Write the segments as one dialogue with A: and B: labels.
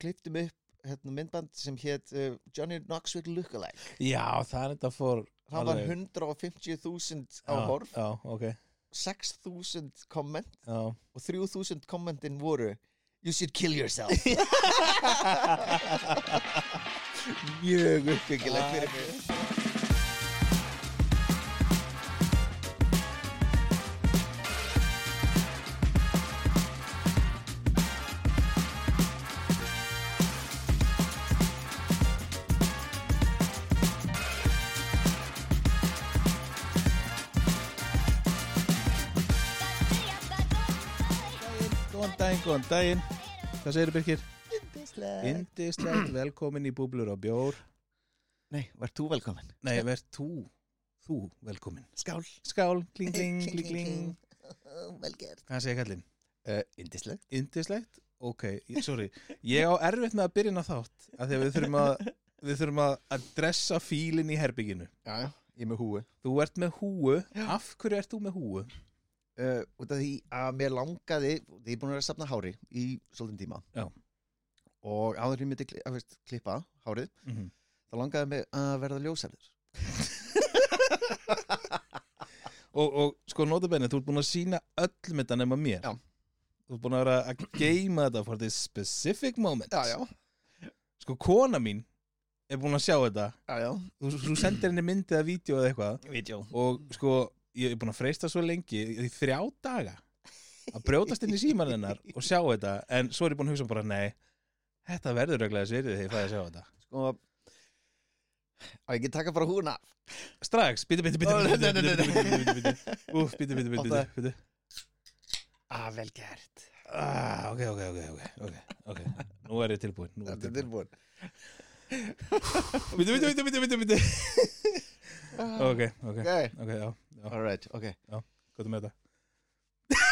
A: kliftum upp hérna, myndband sem hétt uh, Johnny Knoxville Lookalike
B: Já, það er þetta fór
A: það var
B: alveg-
A: 150.000 á
B: Já,
A: horf
B: Já, ok
A: 6.000 komment
B: já.
A: og 3.000 kommentin voru You should kill yourself Mjög uppgöngileg fyrir mig
B: Góðan daginn, góðan daginn Hvað segirðu Birkir? Indislegt velkomin í Búblur og Bjór
A: Nei, var þú velkomin?
B: Nei, verð þú, þú velkomin
A: Skál
B: Skál, kling, kling, kling, kling
A: Velgert
B: Hvað segir kallinn?
A: uh, Indislegt
B: Indislegt? Ok, ég- sorry Ég á erfitt með að byrja inn á þátt af því að við þurfum að, við þurfum að, að dressa fílinn í herbygginu
A: Já, ég er með húi
B: Þú ert með húu, af hverju ert þú með húu?
A: uh, út af því að mér langaði því ég er búin að vera að safna hári í svolítinn tíma
B: Já.
A: og áður en ég myndi kli, að, veist, klippa hárið
B: Mm -hmm.
A: þá langaði mig að verða ljósæður
B: og, og sko notabenni, þú ert búin að sína öllum þetta nema mér
A: Já.
B: Þú ert búin að vera að geima þetta for this specific moment
A: já, já,
B: Sko kona mín er búin að sjá þetta
A: já, já,
B: Þú, þú sendir henni myndið að vídeo eða eitthvað
A: vídeo
B: og sko, ég er búin að freista svo lengi í þrjá daga að brjótast inn í síman hennar og sjá þetta en svo er ég búin að hugsa bara, nei þetta verður reglega svirðið þegar ég fæði að sjá þetta
A: sko að ég get taka bara húna
B: strax, bíti, bíti,
A: Ó, nei, nei, nei, nei.
B: bíti úf, bíti, bíti,
A: Á,
B: bíti,
A: það-
B: bíti
A: að ah, velgert
B: Ah, ok, ok, ok, ok, ok, ok Nú er ég tilbúin Nú er ég
A: þetta er
B: tilbúin
A: tilbúin
B: Vittu, vittu, vittu, vittu, vittu, vittu Ok, ok,
A: ok,
B: ok, já, já,
A: alright, ok
B: hvað er með þetta?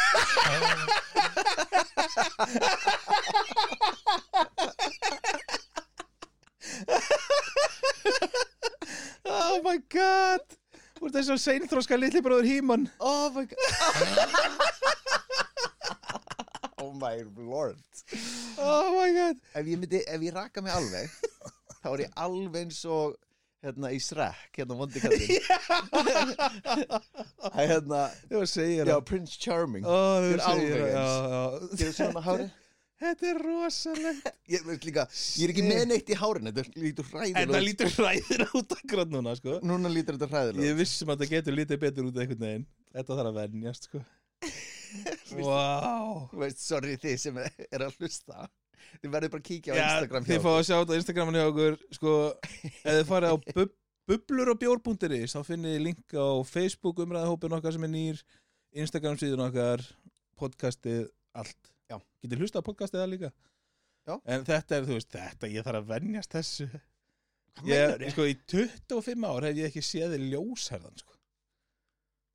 B: Oh my god Þú ert þess að seinþróska litli bróður Híman
A: oh my god oh my lord
B: Oh my god
A: ef ég myndi, ef ég raka mig alveg þá er ég alveg eins og hérna í Shrek, hérna vondi kallinn Það er hérna,
B: Þú segir
A: já,
B: það
A: Prince Charming
B: Ó,
A: Ég
B: þú
A: er alveg
B: segir það já, já.
A: Gerðu svona hári
B: Þetta er rosalegt
A: Ég veist líka, ég er ekki með neitt í hárin Þetta lítur
B: Þetta
A: hræðilega
B: lítur hræðir út akkurat núna sko.
A: út. Núna lítur þetta hræðilega
B: Ég vissum að þetta getur lítið betur út einhvern veginn Þetta þarf að venjast sko. wow.
A: Þú veist, Sorry þið sem er að hlusta Þið verður bara að kíkja á
B: Já,
A: Instagram hjá
B: Þið fá að sjá þetta á Instagraminu hjá okkur sko, Ef þið farið á bub bublur og bjór.is þá finnið þið link á Facebook umræðahópin okkar sem er nýr Instagram síðun okkar podcastið allt
A: Já.
B: Getið hlusta á podcastið það líka
A: Já.
B: En þetta er, þú veist, þetta, ég þarf að venjast þessu
A: Hvað
B: ég,
A: meinarðu?
B: sko, í 25 ár hef ég ekki séð þið ljósherðan sko.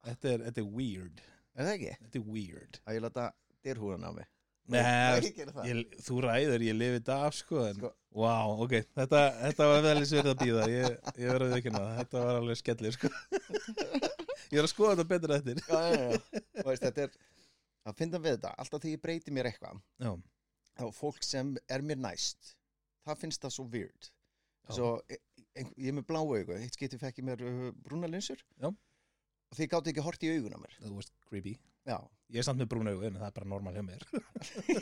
B: þetta, er, þetta er weird
A: Er það ekki?
B: Þetta er weird
A: Að ég láta dyrhúran á mig
B: Nei,
A: Ég geri það.
B: ég, þú ræður, ég lifi þetta af sko, en,
A: Sko.
B: wow, ok, þetta, þetta var vel eins verið að býða, ég, ég verið ekki ná þetta var alveg skellir sko. ég er að skoða þetta betur eftir
A: Já, já, já. Þú veist, Þetta er, að finna við þetta Alltaf þegar ég breyti mér eitthvað
B: já,
A: þá fólk sem er mér næst það finnst það svo weird
B: Já.
A: svo e- ein, ég er með blá augu hitt skipti fekk ég mér uh, brúna linsur
B: Já.
A: og þið gátu ekki hort í auguna mér
B: þú veist, creepy
A: já,
B: ég er samt með brún augu, en það er bara normal hjá mér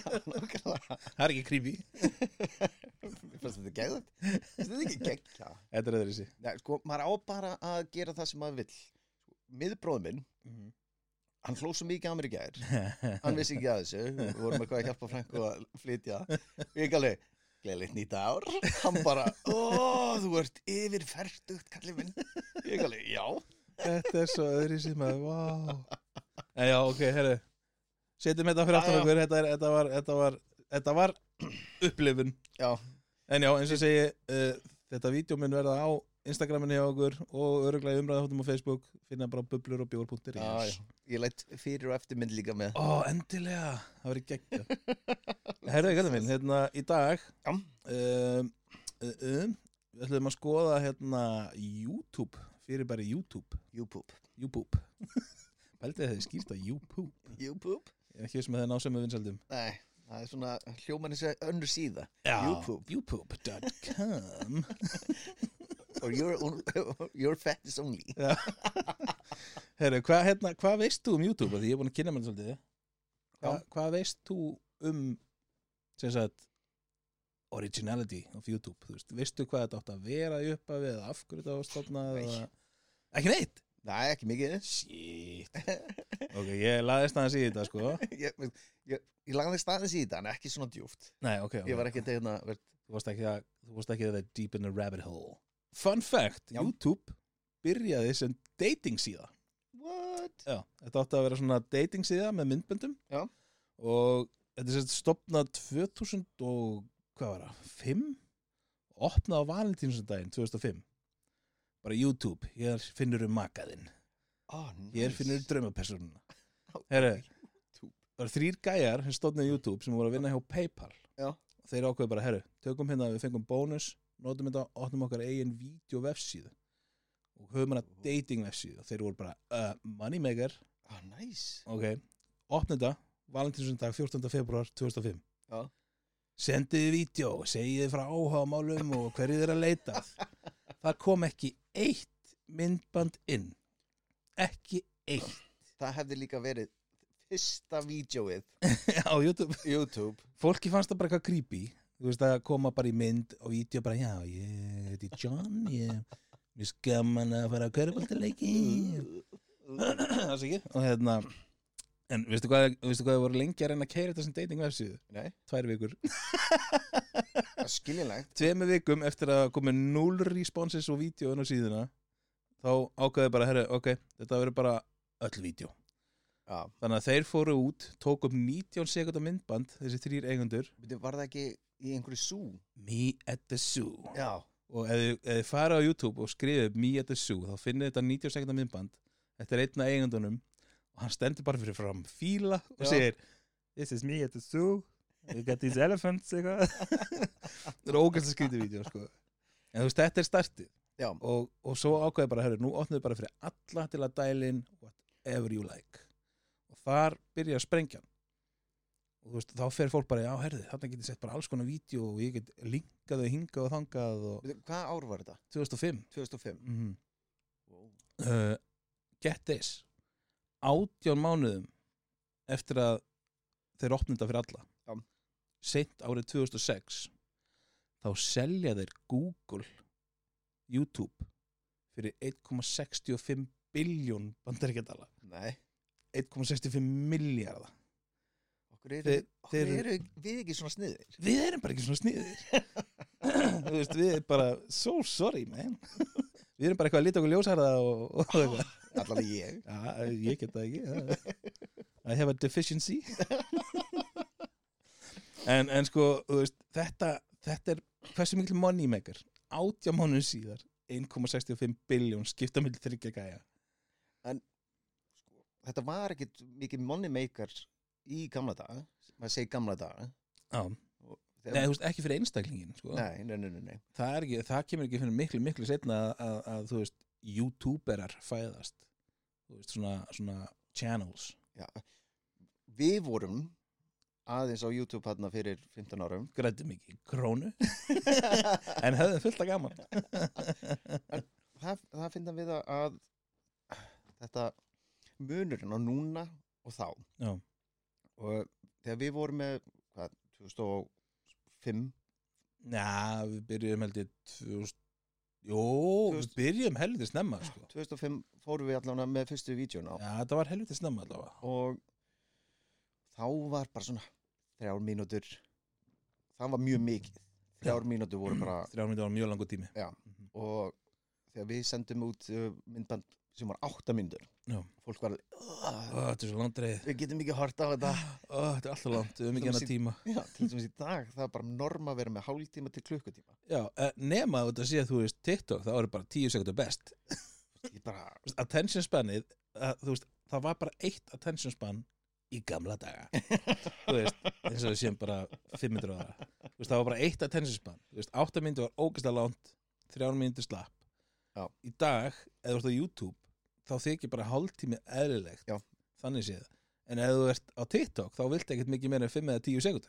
A: nákvæmlega.
B: það er ekki creepy,
A: Mér fannst þetta geðvægt þetta er ekki geggja
B: þetta er öðru
A: Nei, sko, maður á bara að gera það sem maður vill miðbróð minn, hann hlóð svo mikið að mér í gær hann vissi ekki að þessu, við vorum eitthvað að hjálpa Frank að flytja, ég ekki alveg gleðilegt nýta ár, hann bara ó, þú ert yfir ferdugt kallið minn, ég ekki alveg, já
B: þetta er svo öðru síð maður, wow en já, ok, herru setjum þetta fyrir
A: Já,
B: aftan
A: já.
B: okkur þetta, er, þetta, var, þetta, var, þetta var upplifun
A: já,
B: En já, eins og ég segi, uh, þetta vídeo mun verða á Instagraminu hjá okkur og öruglega umræðahóttum á Facebook, finna bara bublur og bjór.ir
A: já, já ég lætt fyrir og eftir mynd líka með
B: Ó, endilega, það verið geggja Herðu, kallum minn, hérna í dag
A: Já.
B: um, uh, um, Við ætlum að skoða hérna YouTube, fyrir bara YouTube
A: YouPoop,
B: YouTube Pældið þið skýrt að YouTube
A: YouPoop
B: Ég er ekki veist með það ná sem við vinsaldum
A: nei, það er svona hljóman þessi önnur síða YouPoop.
B: Youpoob.com
A: or your, own, your fat is only
B: Herru, hvað hérna, hva veist þú um YouTube? Af Því ég er búin að kynna mér svolítið Hva,
A: Já.
B: Hvað veist þú um sem sagt originality of YouTube, þú veist veistu hvað þetta átt að vera í upphafi eða af hverju þetta var stofnað
A: Nei.
B: eða... ekki neitt
A: Nei, ekki mikið
B: Shit Ok, ég laðist aðeins í þetta sko
A: ég, ég, ég, ég lagði staðins í þetta en ekki svona djúft
B: Nei, ok, ok
A: ég var ekki tegna
B: Þú varst ekki að, þú varst ekki að það deep in a rabbit hole Fun fact,
A: Já.
B: YouTube byrjaði sem dating síða
A: what?
B: Já, þetta átti að vera svona dating síða með myndböndum
A: Já.
B: og þetta er sérst stopnað 2000 og hvað var það, 5? Opnað á valentínsdaginn 2005 bara YouTube, hér finnur um makaðinn
A: Oh, nice.
B: hér finnur um draumapersonuna
A: Á
B: Herre, það eru þrýr gæjar sem stofnaði YouTube sem voru að vinna hjá Paypal
A: Já.
B: og þeir ákveðu bara, herru, tökum hérna við fengum bónus, notum þetta, opnum okkar eigin vídeo vefsíðu og höfum hana dating vefsíðu og þeir voru bara, uh, moneymaker
A: oh, nice.
B: ok, opnum þetta valentinsundag 14. februar 2005
A: Já.
B: sendiði vídeo segiði frá áhagamálum og hverju þeir að leita það kom ekki eitt myndband inn ekki eitt
A: það hefði líka verið fyrsta vídjóið
B: á YouTube
A: YouTube
B: fólki fannst það bara eitthvað creepy þú veist að koma bara í mynd og vídeo bara já, ég heiti John ég er skaman að fara að körfaldarleiki það sé ekki og hérna en veistu hvað, veistu hvað þau voru lengi að reyna að keira þetta sem dating vefsíðu
A: Nei,
B: tvær vikur
A: það er skiljanlegt
B: tveimu vikum eftir að komi null responses og vídeo inn á síðuna þá ákveði bara, herru, ok, þetta verður bara öll vídeo.
A: Já,
B: Þannig að þeir fóru út, tók upp 19 sekundar myndband, þessi þrýr eigundur,
A: byrju, var það ekki í einhverju sú?
B: Me at the Zoo.
A: Já,
B: Og ef þið- ef þið farið á YouTube og skrifið Me at the Zoo, þá finnið þetta 19 sekundar myndband, þetta er einna eigundunum og hann stendur bara fyrir fram fíla og
A: Já.
B: segir, this is me at the zoo, we got these elephants, eitthvað. þetta er ógæst að skrítið vídeo, sko. En þú veist, þetta er startið.
A: já,
B: og, og svo ákveði bara, herru, nú opnum við bara fyrir alla til að dæla inn whatever you like og þar byrja að sprengja og þú veist, þá fer fólk bara, já, herðu, þarna get ég sett bara alls konar vídeo og ég get linkað og hingað og þangað og
A: Byrju, hvað ár var þetta?
B: 2005
A: 2005
B: mm
A: wow.
B: uh, get this átján mánuðum eftir að þeir opnum þetta fyrir alla
A: Já.
B: seint árið 2006 þá selja þeir Google YouTube fyrir 1,65 biljón bandaríkjadala
A: Nei,
B: 1,65 miljardar
A: okkur eru,
B: Þeir-
A: okkur
B: þeir-
A: eru við ekki svona sniðir
B: við erum bara ekki svona sniðir þú veist, við erum bara so sorry man við erum bara eitthvað að lita okkur ljósarða og, og eitthvað
A: Allavega ég
B: Já, Ah, eh, ég get það ekki I have a deficiency en, en sko þú veist, þetta, þetta er hversu mikil money maker átja mánuð síðar 1,65 biljón skipta milli þryggja gæja
A: Þetta var ekkit mikið money maker í gamla daga maður segir gamla daga
B: Já.
A: Og
B: Nei,
A: þegar-
B: þú veist, ekki fyrir einstaklingin sko.
A: nei, nei, nei, nei, nei.
B: það, er ekki, það kemur ekki fyrir miklu, miklu setna að, að, að þú veist, youtuberar fæðast þú veist, svona, svona channels
A: Já. Við vorum aðeins á YouTube hérna fyrir 15 árum
B: grættum ekki krónu en höfðum fullt að gaman
A: það, það finnum við að- að þetta munurinn á núna og þá
B: Já.
A: og þegar við vorum með hvað, 2005
B: Já, við byrjuðum heldur 2000... Jó, við
A: 2000.
B: byrjuðum heldur snemma sko.
A: 2005 fórum við allavega með fyrstu vídjóna
B: Já, þetta var heldur snemma allavega
A: og þá var bara svona þrjár mínútur það var mjög mikið þrjár mínútur voru bara
B: Þrjá myndi var mjög langur tími
A: og þegar við sendum út uh, myndband sem var átta mínútur
B: Já.
A: fólk var alveg,
B: Ó,
A: "Ugh,
B: Þetta er svo landreið
A: við getum ekki hort á þetta
B: Ó, Þetta er alltaf langt, við
A: Þú
B: höfum ekki hennar
A: sýn-
B: tíma
A: Já, til dæmis í dag, það er bara norma að vera með hálftíma til klukkutíma.
B: Já, eh, nema að þetta sé að þú veist TikTok, þá eru bara tíu sekundur best
A: Ég bara,
B: Þú veist, Attention spannið, að, þú veist, það var bara eitt attention spann í gamla daga Þú veist, eins og við séum bara 500 ára Þú veist, það var bara eitt attention spann Þú veist, átta myndi var ógæslega langt, þrjár myndi slapp
A: Já.
B: Í dag, eða þú veist á YouTube þá þykir bara hálftími eðlilegt
A: Já.
B: þannig séð, en ef þú ert á TikTok þá viltu ekkert mikið meira en 5 eða 10 sekundar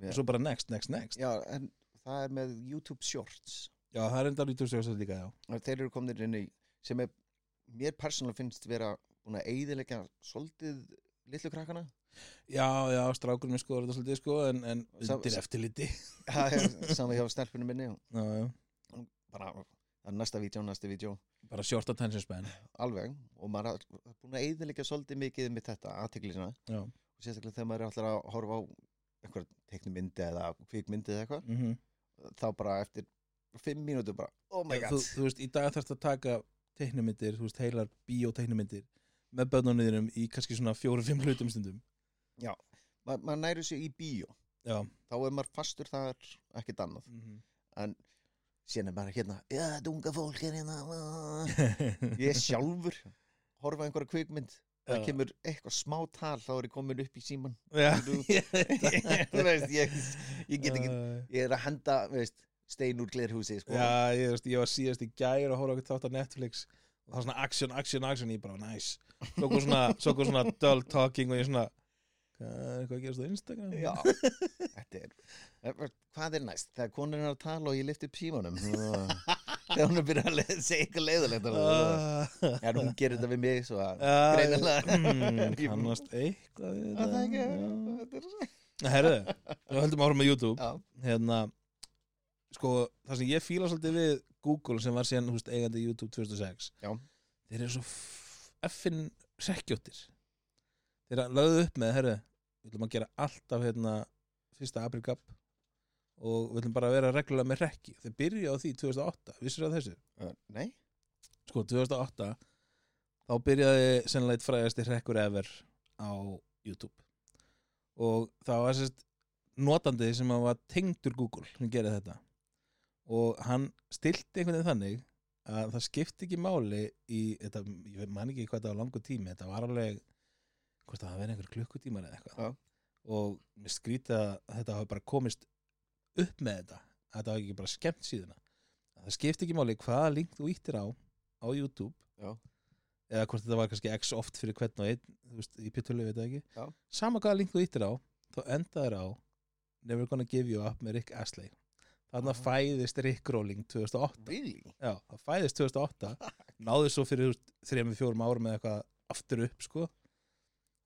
A: Já.
B: og svo bara next, next, next
A: Já, en það er með YouTube Shorts
B: já, það er enda lítið sekundar líka, já
A: og þeir eru komnir inn í sem er, mér persónulega finnst vera búin að eyðilegja svolítið litlu krakkana
B: já, já, strákurinn minn sko, þetta svolítið sko en, en
A: Sam-
B: undir
A: sam-
B: eftirliti
A: það er saman hjá stelpunum minni og
B: já, já.
A: bara það er næsta vídeo, næsta vídeo,
B: bara short attention span
A: alveg og maður er það er búin að eyðilegja svolítið mikið með þetta aðteklina
B: Já.
A: og sérstaklega þegar maður er alltaf að horfa á einhver teiknumyndi eða kvikmyndi eða eitthvað
B: mm
A: þá bara eftir fimm mínútur bara, oh my god
B: þú, þú veist, í dag þarfst að taka teiknumyndir, þú veist, heilar bíóteiknumyndir með bönnunniðinum í kannski svona fjóru-fimm hlutum stundum
A: Ma, maður næri sér í bíó
B: já,
A: þá er maður fastur þar, ekkert annað síðan er bara hérna, já þetta unga fólk er hérna ah." ég er sjálfur horfa á einhverja kvikmynd það
B: Já.
A: kemur eitthvað smá tal þá er ég komin upp í síman
B: já
A: Þú- Þú veist, ég, ég get ekki ég er að henda, veist, stein úr glerhúsi sko.
B: Já, ég, veist, ég var síðast í gæri að horfa okkur þátt á Netflix og það var svona action, action, action, ég bara, nice svo kom svona, svo kom svona dull talking og ég svona, hvað er eitthvað að gerast á Instagram?
A: Já. þetta er eh, hvað er næst, þegar konan er að tala og ég lift upp símanum þegar hún er byrjað að le- segja eitthvað leiðilegt
B: Ah.
A: en hún gerir þetta við mig svo að
B: Já,
A: Greinilega.
B: mm, kannast eitthvað við
A: Ah, Það er ekki,
B: já.
A: þetta er-
B: Herðu, við höldum áfram með YouTube
A: Já,
B: hérna, sko, það sem ég fíla svolítið við Google sem var síðan, þú veist, eigandi YouTube 2006
A: Já.
B: þeir eru svo effin sekkjóttir þeir lögðu upp með, herru við ætlum að gera allt af hérna fyrsta aprilgap og við ætlum bara að vera reglulega með rekki þeir byrja á því 2008, vissir það þessu
A: Eh, Nei,
B: sko 2008 þá byrjaði sennilega eitt frægasti hrekkur ever á YouTube og það var sérst notandi sem að var tengdur Google sem gerði þetta og hann stilti einhvern veginn þannig að það skipti ekki máli í, þetta, ég veit man ekki hvað þetta var langur tími þetta var alveg, hvort það var verið einhver klukkutímar eða eitthvað
A: Já.
B: og mér skrýta að þetta hafi bara komist upp með þetta að þetta hafi ekki bara skemmt síðuna það skipti ekki máli hvaða link þú íttir á á YouTube
A: Já.
B: eða hvort þetta var kannski x oft fyrir hvern og einn þú veist, í pittulega veit það ekki
A: Já.
B: sama hvaða link þú íttir á þá endaður á Never Gonna Give You Up með Rick Astley þannig
A: Ah.
B: að fæðist Rick Rowling 2008
A: really?
B: Já, það fæðist 2008 náði svo fyrir 3-4 árum eða eitthvað aftur upp sko.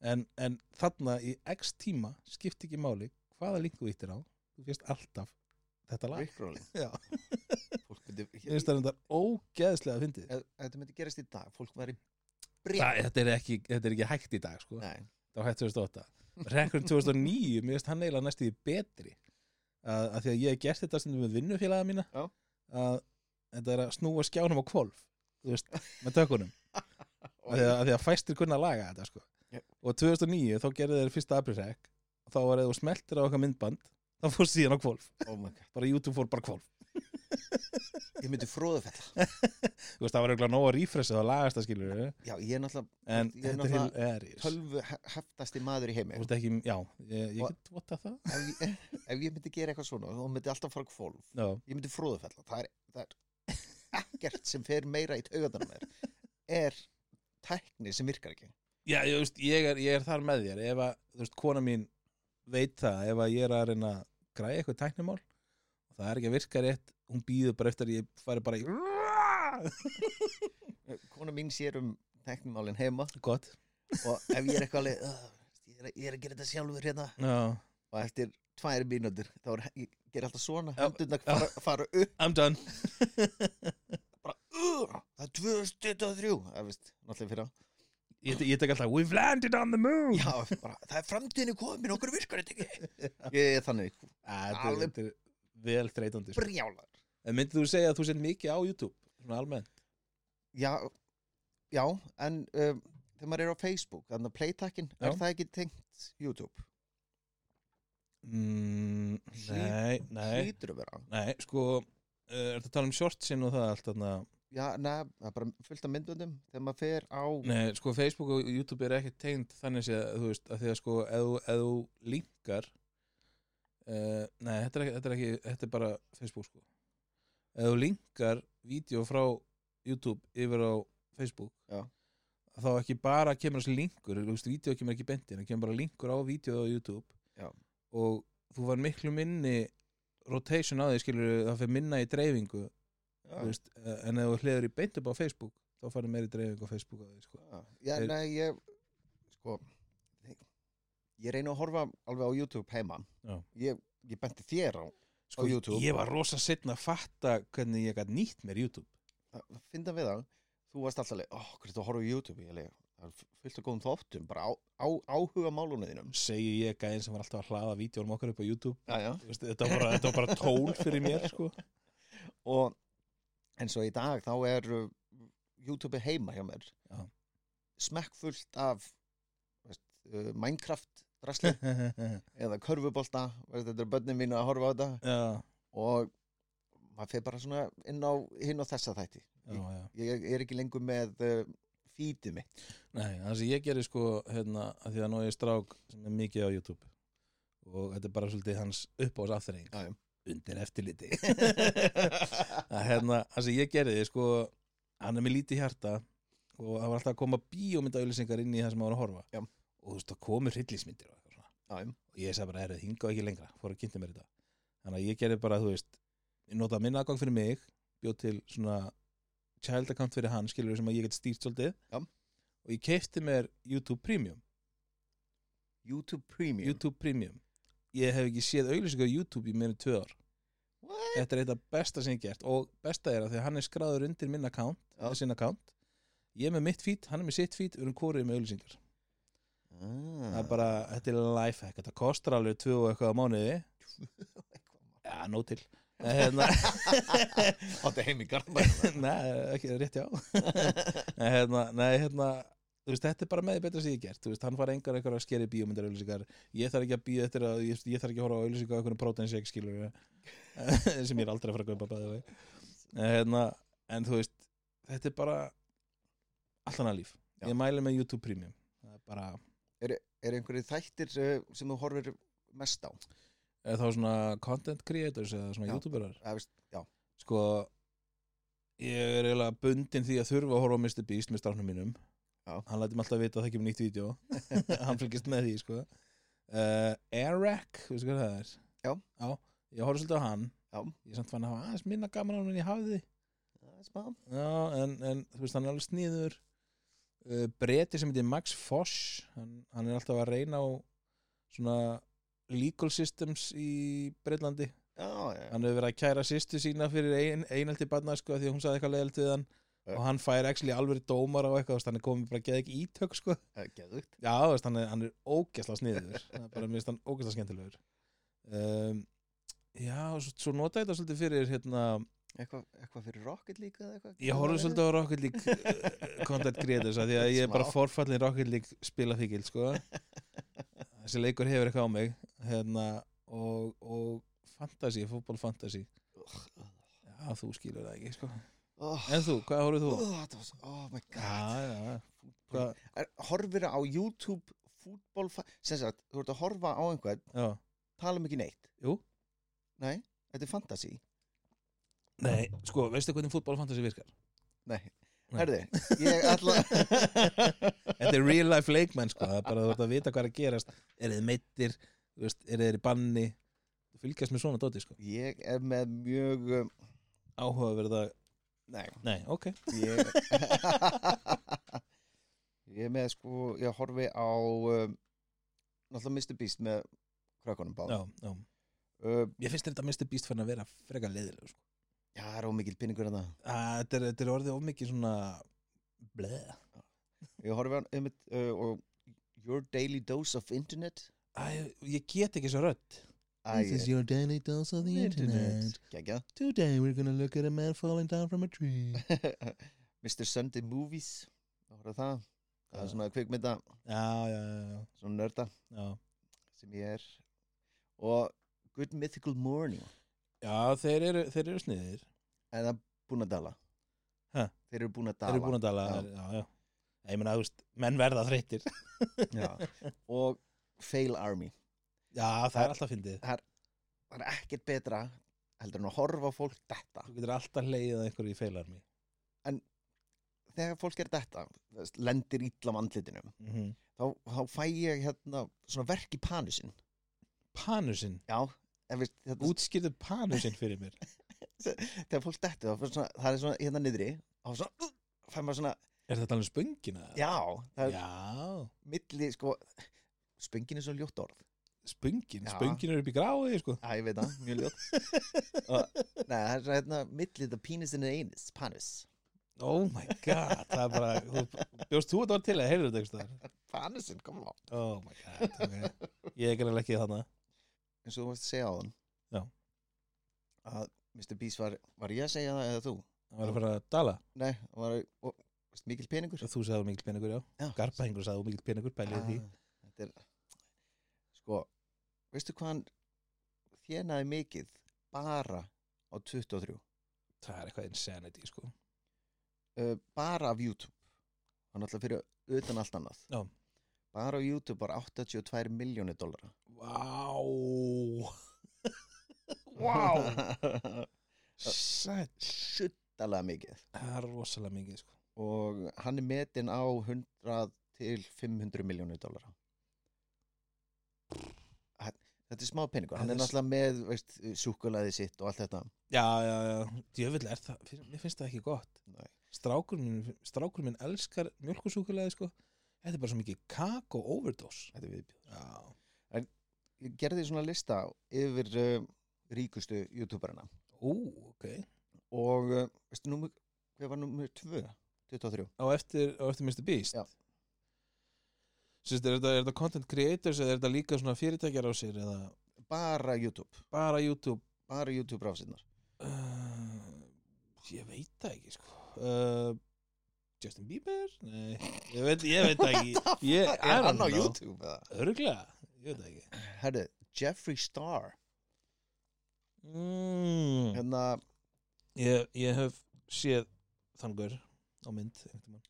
B: en, en þarna í x tíma skipti ekki máli hvaða link þú íttir á þú fyrst alltaf þetta lag
A: Rick Rolling
B: Já.
A: Fólk myndi,
B: ég finnst það reyndar ógeðslega að fyndið
A: ef, ef þetta myndi gerast í dag, fólk væri
B: Það-
A: breytt
B: þetta er, ekki, þetta er ekki hægt í dag sko.
A: Nei,
B: það var hægt 2008 rekkurinn 2009, mér finnst hann eiginlega næstu því betri að, að því að ég hef gert þetta stundum með vinnufélaga mína
A: Já.
B: að þetta er að snúa skjánum á kvolf þú veist, með tökunum
A: Oh
B: að því að, að því að fæstir kunna að laga þetta sko.
A: Já.
B: og 2009 þá gerði þeir fyrsta aprilrekk og þá var eða þú smeltir á eitthvað myndband þá fór síðan á kvolf,
A: oh my god
B: bara YouTube fór bara kvolf
A: Ég myndi fróðufella
B: þú veist, það var eiginlega nóg að refresha og lagast það skilur
A: Já, ég er náttúrulega
B: en
A: Ég er
B: þetta er
A: náttúrulega
B: hilaris
A: tölvu he- heftasti maður í heimi
B: Þú veist ekki, já, ég, ég
A: Og-
B: get vota það
A: ef, ég- ef ég myndi gera eitthvað svona þá myndi alltaf fara kvolf
B: Já,
A: Ég myndi fróðufella Það er, það er ekkert sem fer meira í taugatanum mér er tækni sem virkar ekki
B: já ég, veist, ég, er, ég er þar með þér ef að, þú veist, kona mín veit það ef að ég er að reyna að græja eitthvað tæknimál og það er ekki að virka rétt hún býður bara eftir að ég fari bara í
A: Eh, Kona mín sér um tæknimálin heima
B: gott
A: og ef ég er eitthvað alveg "Ugh, ég er, að- ég er að gera þetta sjálfur hérna
B: já.
A: og eftir tvær mínútur þá er, ég ger alltaf svona
B: Já,
A: hendurna
B: já.
A: fara, fara upp
B: I'm done
A: bara, uh, það er 2023 það veist, náttúrulega fyrir á
B: ég, ég tek alltaf, we've landed on the moon
A: já, bara, það er framtíðinu komin, okkur virkar þetta ekki ég er þannig
B: Æ, þetta, er,
A: Alveg-
B: þetta er vel þreytandi sko.
A: brjálar
B: en myndið þú segja að þú sent mikið á YouTube svona almennt
A: já, já en um, þegar maður er á Facebook þannig að playtakkin,
B: Já.
A: er það ekki tengt YouTube?
B: mm, nei, nei,
A: hlýtur að vera
B: nei sko, er þetta að tala um shortsin og það allt þarna
A: já, neða, það er bara fullt af myndundum þegar maður fer á
B: Nei, sko Facebook og YouTube er ekki tengd þannig séð, þú veist, að því að sko ef þú- ef þú linkar uh, Nei, þetta er, ekki, þetta er ekki þetta er bara Facebook sko Ef þú linkar vídeo frá YouTube yfir á Facebook
A: Já.
B: þá ekki bara kemur þessi linkur þú veist, vídeo kemur ekki benti, en það kemur bara linkur á vídeo á YouTube
A: Já.
B: og þú var miklu minni rotation á því, skilur það fyrir minna í dreifingu þú
A: já,
B: veist, eh, en ef þú hliður í beint upp á Facebook þá farið meiri dreifingu á Facebook á því, sko.
A: já. já
B: Þeir-
A: nei, ég sko ég reyna að horfa alveg á YouTube heima
B: Já.
A: ég, ég benti þér á
B: Sko,
A: Á YouTube.
B: ég var rosa setna að fatta hvernig ég gætt nýtt mér YouTube
A: að finna við það þú varst alltaf leið, oh, hvernig þú horfa á YouTube ég leið, það er fullt að góðum þóttum bara á, á, áhuga málunum þínum
B: segi ég gæðin sem var alltaf að hlaða vídjónum okkar upp á YouTube
A: já, já.
B: Þú veist, þetta, var bara, þetta var bara tól fyrir mér sko.
A: og eins og í dag þá er uh, YouTube heima hjá mér
B: Já.
A: smekkfullt af veist, uh, Minecraft drasli eða körfubolta veist, þetta er börnin mín að horfa á þetta
B: já,
A: og maður fer bara svona inn á hinn og þessa þætti
B: já, já.
A: ég er ekki lengur með uh, feedið mitt
B: Nei, það sem ég gerir sko hérna, að því að nú er ég strák sem er mikið á YouTube og þetta er bara svolítið hans uppáðs afturreying
A: Já, já.
B: undir eftirliti að hérna, það sem ég gerði sko, hann er með lítið hjarta og það var alltaf að koma bíómyndaauðlýsingar inn í það sem maður var að horfa
A: Já.
B: og þú veist, það komur hryllismyndir og, eitthvað svona.
A: já, já,
B: og ég sagði bara, er það hingað ekki lengra fór að kynnti mér þetta þannig að ég gerði bara, þú veist, ég notaði minna aðgang fyrir mig bjóð til svona child account fyrir hann, skilur sem að ég get stýrt svolítið
A: Já.
B: og ég keipti mér YouTube Premium
A: YouTube Premium
B: YouTube Premium ég hef ekki séð auglýsingar á YouTube í meira en tvö ár
A: What?
B: þetta er eitthvað besta sem ég hef gert og besta er að því að hann er skráður undir minn account
A: Já.
B: eða sinn account ég er með mitt feed, hann er með sitt feed við erum kórið með auglýsingar
A: Ah.
B: það er bara, þetta er lifehack þetta kostar alveg tvö og eitthvað á mánuði já, nóg til En hérna,
A: Þetta er heim í garðbæðina
B: nei, ekki rétt já En hérna, nei, hérna þú veist, þetta er bara með því betra sem ég hef gert þú veist, hann fara engar eitthvað að skeri bíómyndar auðlýsingar ég þarf ekki að bíða eftir að ég, ég þarf ekki að horfa á auðlýsingar á einhvern protein shake skilur sem ég er aldrei að fara að kaupa bæði en, hérna, en þú veist þetta er bara allt annað líf
A: Já.
B: ég mæli með YouTube Premium það er bara,
A: Er einhverju þættir eh, sem þú horfir mest á?
B: eða þá svona content creators eða svona
A: Já.
B: youtuberar
A: Eða, veist, já,
B: sko ég er eiginlega bundin því að þurfa að horfa á Mr. Beast með strafnum mínum
A: Já.
B: hann læti mig alltaf vita að það kemur nýtt vídeo hann fylgist með því sko uh, Eric, veistu hvað það er
A: Já.
B: ég horfði svolítið á hann
A: Já.
B: ég samt fann að hafa aðeins minna gaman á hann en ég hafði
A: það er smá
B: Já, en, en þú veist, hann er alveg sniður uh, Breti sem heitir Max Foss hann, hann er alltaf að reyna á svona legal systems í Breitlandi
A: Já, já,
B: hann hefur verið að kæra sýstu sína fyrir ein, einaldi barna sko því að hún sagði eitthvað leiðalt við hann
A: Já.
B: og hann fær actually alveg dómar á eitthvað þú veist, hann er komið bara að geða ekki ítök sko
A: já, geðugt
B: já, þú veist, hann, er, hann er ógæsla sniður bara mér finnst hann ógæsla skemmtilegur um, já, og svo, svo nota ég þetta svolítið fyrir hérna,
A: Eitthvað eitthva fyrir Rocket League eða eitthvað?
B: ég horfði svolítið á Rocket League eh, content creators af því að ég er bara
A: Smá.
B: forfallin Rocket League spilafíkil sko þessi leikur hefur eitthvað á mig hérna, og, og fantasy, fútbol fantasy já, þú skilur það ekki sko
A: oh,
B: En þú, hvað horfðu
A: oh,
B: þú?
A: þetta var svo- oh my
B: Já,
A: god
B: já, já. Hvað-
A: er, Horfir á YouTube fútbol sem sagt, þú ert að horfa á einhvern
B: já.
A: tala um ekki neitt
B: Jú.
A: Nei, þetta er fantasy
B: Nei, sko, veistu hvernig fútbólfantasi virkar?
A: Nei,
B: Nei.
A: herði, ég ætla
B: Þetta er real life leikmenn, sko, það er bara þú ert að vita hvað er að gerast Er þið meittir, þú veist, er þið í banni Þú Fylgjast með svona dóti, sko
A: Ég er með mjög um,
B: Áhugaverða,
A: Nei,
B: nei, ok
A: ég ég er með sko ég horfi á um, náttúrulega Mr. Beast með krökkunum bá
B: Já, já
A: uh,
B: Ég finnst þetta minnstu býst fyrir að vera frekar leiðileg, sko
A: já, það er ómikil pinningur en það
B: Æ, Þetta er, þetta er orðið of mikið svona Bleð
A: ég horfi á um, uh, og Your Daily Dose of Internet
B: Æ, ég get ekki svo rödd This is your daily dose of the internet
A: Geggjað.
B: Today we're gonna look at a man falling down from a tree
A: Mr. Sunday Movies ég horfi á það það er svona kvikmynda
B: Já, já, já, já,
A: svona nörda
B: já.
A: sem ég er og Good Mythical Morning
B: Já, þeir eru, þeir eru sniðir
A: en það er búin að dala
B: Ha?
A: þeir eru búin að
B: Þeir eru
A: dala
B: búin að dala
A: Já.
B: Já, já, já. Ég meina, þú veist, menn verða þreyttir Já,
A: Já. og Fail Army
B: það er alltaf fyndið
A: það er ekkert betra heldur en að horfa á fólk detta
B: Þú getur alltaf leiðið að einhverju í feilarmi
A: þegar fólk er þetta þú veist, lendir illa á andlitinu
B: Mhm.
A: þá, þá fæ ég hérna svona verk í panusin
B: Panusinn,
A: já, en veist, þetta,
B: útskýrðu panusinn fyrir mér
A: þegar fólk dettur þá fer svona, það er svona hérna niðri og svona, uh, fær maður svona,
B: Er þetta alveg spöngina?
A: já það er
B: Já,
A: milli, sko spöngin er svo ljótt orð
B: spöngin,
A: Já.
B: spöngin er upp í gráði sko.
A: Já, ég veit það, mjög ljótt og, Nei, það er svona hérna millið að penis in the anus, panus
B: Oh my god, það er bara þú- Bjóst þú að það var til að heyrðu þetta einhvers staðar?
A: Panusin, kom á
B: Oh my god, ok Ég er greinlega ekki þarna
A: eins og þú varst að segja á hann
B: Já.
A: að Mr. Beast var, var ég að segja það eða þú?
B: Það var að fara að dala
A: Nei, hann var og, veist, mikil peningur
B: Þú sagði mikill peningur, já
A: Já.
B: Garpahingur sagði mikill peningur, pælið því
A: Ah, Þetta er sko, veistu hvað hann þjenaði mikið bara á 23
B: Það er eitthvað insanity, sko
A: uh, bara af YouTube hann alltaf fyrir utan allt annað
B: Já.
A: bara á YouTube var 82 miljónir dollara
B: Vá Vá Sætt
A: suttalega mikið
B: Það er rosalega mikið, sko
A: og hann er metinn á 100 til 500 miljónir dollara Hann- þetta er smá peningur hann er
B: Þetta er s-
A: náttúrulega með veist, súkulaði sitt og allt þetta
B: Já, já, já, djöfull er það fyrir- Mér finnst það ekki gott
A: Nei.
B: Strákur minn, strákur minn elskar mjölkusúkulega, sko Þetta er bara svo mikið kakó overdose
A: þetta er viðbjóð
B: Já
A: ég gerði svona lista yfir uh, ríkustu youtuberina
B: Ú, ok
A: og uh, veistu, númer, hver var nummer 2 23
B: Á eftir, á eftir Mr. Beast
A: Já.
B: Sérst, er þetta, er þetta content creators eða er þetta líka svona fyrirtækjar á sér eða
A: bara YouTube
B: bara YouTube
A: bara YouTube rásinnar
B: uh, Ég veit það ekki, sko uh, Justin Bieber? Nei, ég veit, ég veit það ekki ég, I
A: er
B: don't
A: hann á
B: know.
A: YouTube eða?
B: Örugglega, ég veit það ekki
A: herru, Jeffree Star
B: mm,
A: hérna,
B: ég, ég hef séð þangur á mynd einhvern tímann.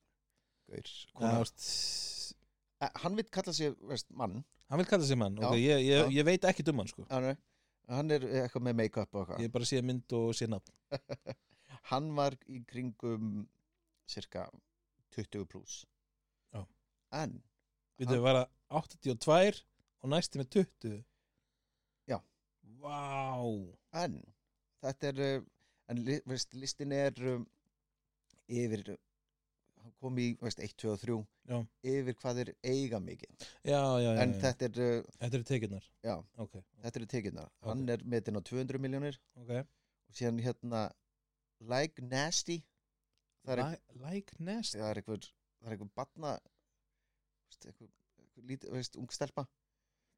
A: gaur,
B: Já,
A: konar,
B: veist,
A: Eh, hann vil kalla sig veist, mann
B: Hann vil kalla sig mann,
A: Já,
B: ok,
A: já.
B: ég, ég, ég veit ekki um hann sko
A: hann er, hann er eitthvað með make-up og
B: Ég
A: eitthvað
B: hef bara séð mynd og séð nafn
A: hann var í kringum cirka 20 pluss
B: Já.
A: en
B: Við þau vera 82 og næsti með 20
A: Já.
B: Vá
A: en þetta er uh, en li- veist, listin er um, yfir uh, hann kom í veist, 1, 2 og 3
B: Já. Eh.
A: yfir hvað er eiga mikið
B: Já, já, já,
A: en
B: já.
A: þetta er, uh,
B: þetta eru tekjurnar
A: Já.
B: Ok,
A: þetta er tekinnar hann er metinn á 200 miljónir
B: ok
A: og síðan hérna Like Nasty það er,
B: Like, like nest
A: það er einhver það er einhver batna veist, einhver, einhver lítið, veist, ung stelpa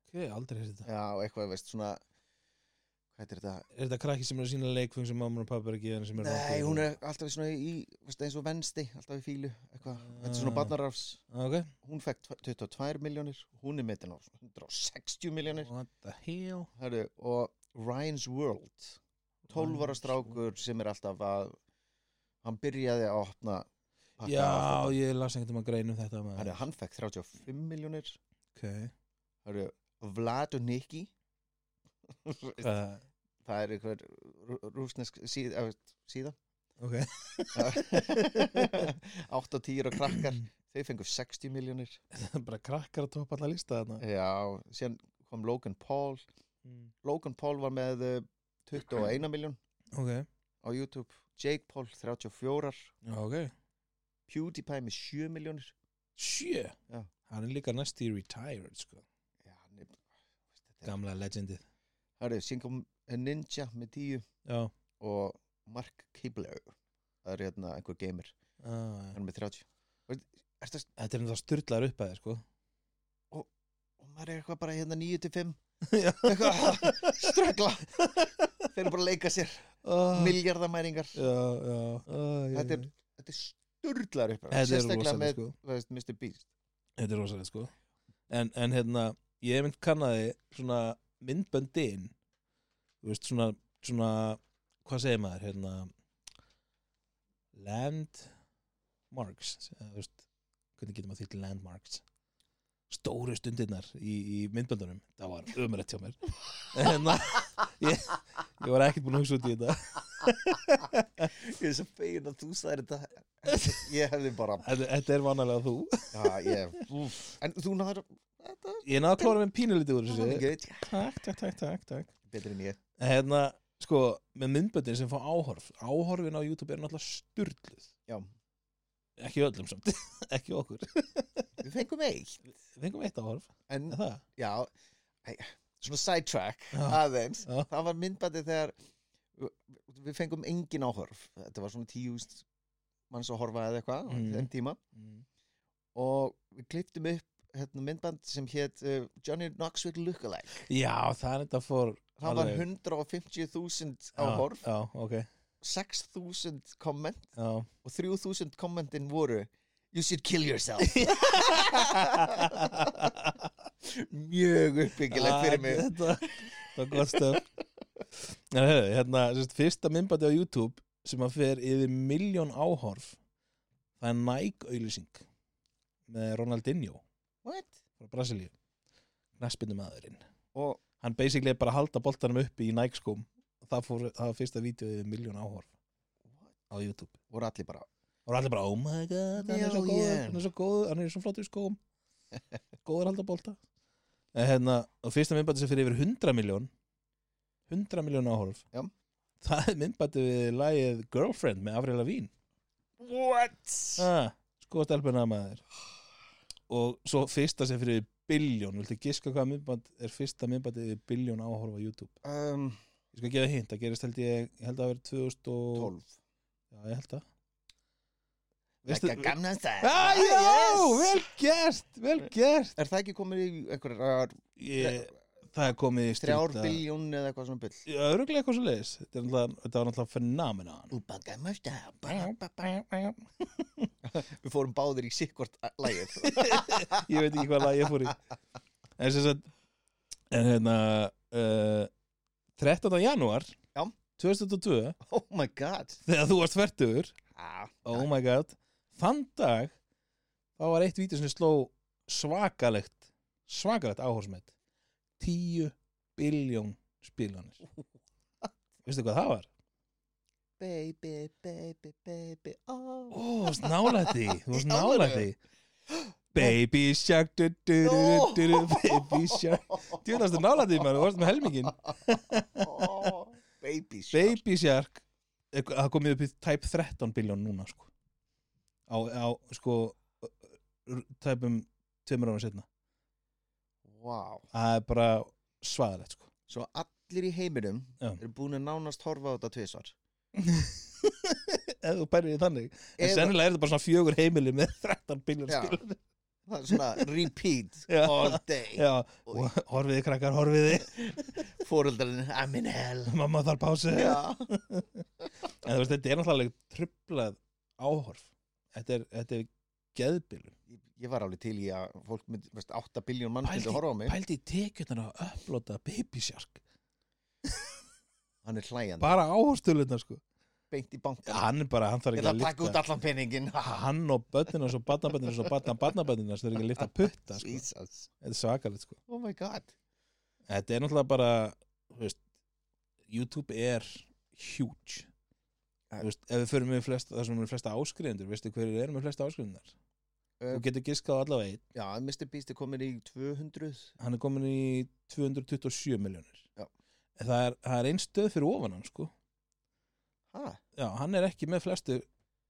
B: Ok, aldrei hefði þetta
A: já, og eitthvað, veist, svona hvað heitir þetta
B: Er þetta krakki sem er að sína leikfung sem mamma og pappa er að gefa henni sem er
A: Nei, hún er alltaf svona í, veist, eins og vensti, alltaf í fílu, eitthvað, þetta er svona
B: Ah.
A: barnarafs,
B: Ok,
A: hún fekk 22 miljónir, hún er metin á 160 miljónir,
B: what the hell
A: herru, og Ryan's World, 12 ára
B: Ryan's
A: strákur sem er alltaf að, hann byrjaði að opna, pakka
B: Já,
A: áfengi.
B: ég las einhvern um að greinu þetta maður.
A: herru, hann fekk 35 miljónir,
B: Ok
A: herru, Vlad og Nicky,
B: uh,
A: það er einhver rú- rússnesk síð, eh, síða,
B: Ok
A: 8 og 10 og krakkar, þau fengur 60 miljónir,
B: Bara krakkar að topa alla lista þarna
A: Já, síðan kom Logan Paul
B: Mm.
A: Logan Paul var með eh, 21 miljón
B: Ok,
A: á YouTube Jake Paul 34
B: já, ok
A: PewDiePie með 7 miljónir
B: Sjö
A: Já.
B: Hann er líka næst í retired sko.
A: Já, hann er- þetta er-
B: Gamla legendið
A: Herru, síðan kom Ninja með 10
B: Já,
A: og Mark Kibler það er hérna einhver gamer,
B: ah,
A: hann er með 30 Veit- Ertu að
B: Þetta er náttúrulega styrlaður upp að þér sko
A: og maður er eitthvað bara hérna 9 til 5
B: Já.
A: eitthvað, ströggla þeir eru bara að leika sér,
B: oh,
A: miljardamæringar
B: Já, já oh,
A: þetta er, þetta er sturglar upp
B: Þetta er
A: sérstaklega
B: rosalega
A: með
B: sko
A: þú veist, Mr. Beast
B: Þetta er rosalega sko En, en hérna, ég hef mynd kannaði svona myndböndin Þú veist, svona, svona Hvað segir maður, hérna Landmarks eða, Þú veist, hvernig getur maður þýtt landmarks Stóru stundirnar í, í myndböndunum Það var ömrætt hjá mér En hérna, ég, ég var ekkert búin að hugsa út í þetta
A: Ég er svo fegin að þú sagðir þetta Ég hefði bara
B: Þetta, þetta er vanalega þú
A: já, ég, úf. En þú náður Þetta
B: Ég náðu að klára með pínulítið úr
A: er
B: þessu
A: svo mikið
B: Takk, takk, takk, takk, takk
A: Betri en ég
B: En Hérna, sko, með myndböndin sem fá áhorf Áhorfin á YouTube er náttúrulega styrluð
A: Já.
B: Ekki öllum samt, ekki okkur
A: Við fengum eitt
B: Við fengum eitt áhorf,
A: En
B: er það?
A: já æ, Svona sidetrack
B: Já.
A: aðeins
B: Já.
A: Það var myndbætið þegar Við fengum engin áhorf Þetta var svona tíust manns að horfa eða eitthvað á
B: Mm.
A: þeim tíma og við kliptum upp hérna, myndband sem hétt uh, Johnny Knoxville Lookalike
B: Já, það er þetta fór
A: það var
B: Alveg.
A: 150.000
B: Já,
A: áhorf
B: Já, ok,
A: 6.000 komment
B: já
A: og 3.000 kommentin voru You should kill yourself Mjög uppbyggilegt fyrir mig
B: Þetta þetta var gott stöf En hefðu, hérna, sérst, fyrsta myndbæti á YouTube sem að fer yfir miljón áhorf það er Nike auðlýsing með Ronaldinho
A: What?
B: frá Brasilíu næspindu maðurinn
A: Og
B: hann basically er bara að halda boltanum uppi í Nike skóm það, fór, það var fyrsta vídeo yfir miljón áhorf á YouTube
A: voru allir bara
B: og allir bara, oh my god, hann er svo
A: Já,
B: góður
A: yeah.
B: hann er svo góður, hann er svo flottur í skóm góður að halda bolta en hérna, og fyrsta myndbæti sem fyrir yfir 100 miljón 100 miljón áhorf
A: Já.
B: það er myndbæti við lagið Girlfriend með Avril Lavín
A: What?
B: ah, sko stelpuna maður og svo fyrsta sem fyrir biljón, viltu giska hvað myndbæti er fyrsta myndbæti við biljón áhorf á YouTube
A: Um,
B: ég skal gefa hint, það gerist held ég ég held að vera 2000 og
A: 12
B: já, ég held að
A: Veistu, gamna stær
B: Ah, já,
A: yes.
B: vel gert, vel gert
A: Er það ekki komið í einhverjar
B: ég, Það er komið í
A: þrjár
B: stríta
A: biljón eða eitthvað svona bull
B: Öruglega eitthvað svo leiðis Þetta er náttúrulega- þetta var náttúrulega fenomenan
A: Úpa gamla stær Við fórum báðir í sikkvort lægir
B: Ég veit ekki hvað lag ég fór í En sem sagt En hérna uh, 13. janúar
A: Já.
B: 2002
A: Oh my god
B: Þegar þú varst verður
A: ah,
B: Oh my god Þann dag Þá var eitt vítur sem sló svakalegt Svakalegt áhorsmett 10 biljón spiljónir Veistu hvað það var?
A: Baby, baby, baby oh.
B: Ó, þú varst nálætti Þú varst
A: Í alvöru?
B: nálætti Baby shark du, du, du, du, du, du, Baby shark Djúðast þú nálætti maður, þú varst með helmingin
A: oh, Baby shark
B: Baby shark eh, Það komið upp í type 13 biljón núna sko Á, á sko r- Tæpum tveimur ára setna
A: wow.
B: Það er bara svaðalegt sko
A: Svo allir í heiminum
B: Já.
A: eru búin að nánast horfa á þetta tvisvar
B: Ef þú bærir því þannig En
A: Ef-
B: sennilega er þetta bara svona fjögur heimili með 13 biljón
A: Já.
B: spiljónir
A: Það er svona repeat
B: Já.
A: all day
B: Já, og horfiði krakkar, horfiði
A: Fóröldarinn, I'm in hell
B: Mamma þarf pásu
A: Já.
B: En þú veist, þetta er náttúrulega trublað áhorf. Þetta er, þetta er geðbílum.
A: Ég- Ég var alveg til í að fólk myndi, veist, 8 biljón mann myndi
B: Pældi-
A: horfa á mig
B: Pældi í tekjurnar að upplota Baby Shark.
A: Hann er hlæjandi,
B: Bara áhorfstölunar, sko.
A: beint í bankan
B: Hann er bara, hann þarf
A: Ég
B: ekki
A: ætla að
B: að
A: taka út
B: lifta.
A: allan penningin
B: Hann og börnina og barnabörnina og barna barnabörnina þarf ekki að lifta putta, sko.
A: Jesus,
B: Þetta er svakalegt, sko.
A: oh my god
B: Þetta er náttúrulega bara, þú veist, YouTube er huge.
A: Ja.
B: Þú veist, ef við förum með flest, það sem er flesta áskrifundur, veistu hverjir eru með flesta áskrifundunar?
A: Eh,
B: Þú getur giskað á allavega einn.
A: Já, Mr. Beast er komin í 200
B: hann er komin í 227 miljónir
A: Já.
B: En það er, það er einn stöð fyrir ofan hann sko
A: ha,
B: já, hann er ekki með flestu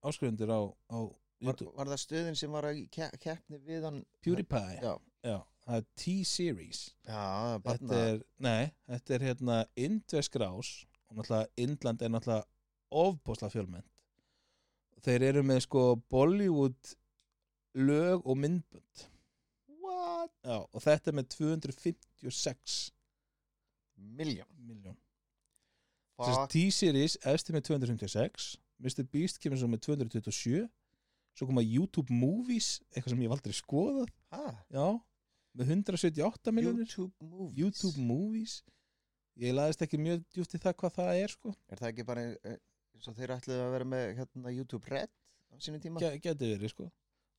B: áskrifundir á, á
A: var,
B: YouTube
A: var það stöðin sem var að ke keppni við hann
B: PewDiePie,
A: Já,
B: það er T-Series
A: já
B: þetta
A: barna,
B: er, nei, þetta er hérna indvesk rás og náttúrulega Indland er náttúrulega ofbóðsla fjölmennt þeir eru með sko Bollywood lög og myndbönd
A: what?
B: já, og þetta er með 256
A: Miljón
B: miljón Sem sagt,
A: Fuck,
B: T-Series eftir með 256 Mr. Beast kemur svo með 227 svo koma YouTube Movies eitthvað sem ég hef aldrei skoðað
A: ha,
B: já, með 178 miljonir
A: YouTube movies
B: YouTube Movies ég laðist ekki mjög djúpt í það hvað það er sko.
A: Er það ekki bara eh, eins og þeir ætluðu að vera með hérna YouTube Red á sínum tíma?
B: Gæ- gæti verið sko.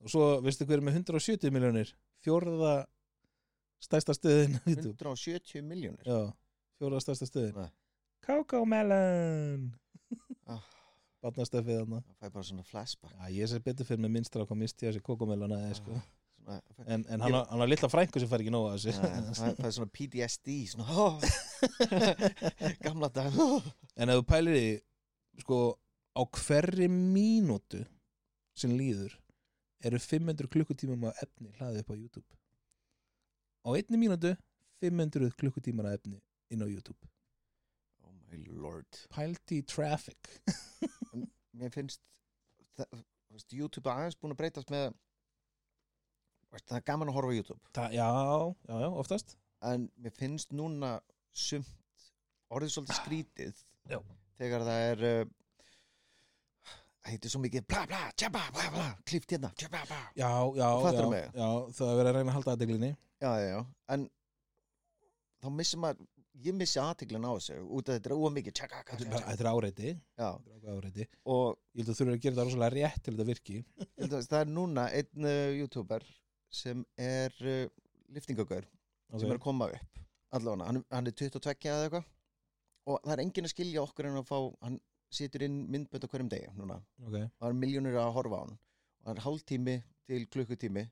B: og svo, veistu hver er með 170 miljonir fjórða stærsta stöðin á YouTube
A: 170 miljónir
B: já, fjórða stærsta stöðin
A: Nei.
B: Coco Melon
A: Ah.
B: Barnastöfið þarna
A: það fæ bara svona flashback Ah,
B: Já, ég sé betur fyrir með minnstra hvað misti þessi kokomelana eða sko.
A: svona, fæ,
B: En, en hann, á- hann var litla frænku sem fær ekki nóga þessi
A: það, það er svona PTSD svona, oh, gamla dag oh.
B: En ef þú pælir því sko, á hverri mínútu sem líður eru 500 klukkutímum af efni hlaðið upp á YouTube Á einni mínútu 500 klukkutímar af efni inn á YouTube
A: oh my lord
B: Pældi í traffic
A: mér finnst það, þú veist, YouTube er aðeins búin að breytast með þú veist, það er gaman að horfa á YouTube
B: Þa, Já, já, já, oftast
A: en mér finnst núna sumt orðið svolítið skrítið
B: Já.
A: þegar það er uh, það heitir svo mikið bla bla, tjaba, bla bla klift hérna, tjaba, bla
B: Já, já, já,
A: Fattarðu mig?
B: já, það er verið að reyna að halda aðdeglinni
A: já, já, já, en þá missir maður, ég missi aðteglun á þessu út af þetta er ómikið tjaka,
B: Þetta
A: tjaka,
B: er bara- þetta er áreiti,
A: já,
B: þetta er ákveðið áreiti.
A: og
B: Ég held að þú þurfir að gera þetta rosalega rétt til þetta virki
A: Til dæmis, það er núna einn uh, youtuber sem er uh, liftingagaur sem er að koma upp allavega, hann, hann er 22 eða eitthvað og það er enginn að skilja okkur en að fá hann situr inn myndbönd á hverjum degi núna
B: okay.
A: og það er miljónir að horfa á hann og það er hálftími til klukkutími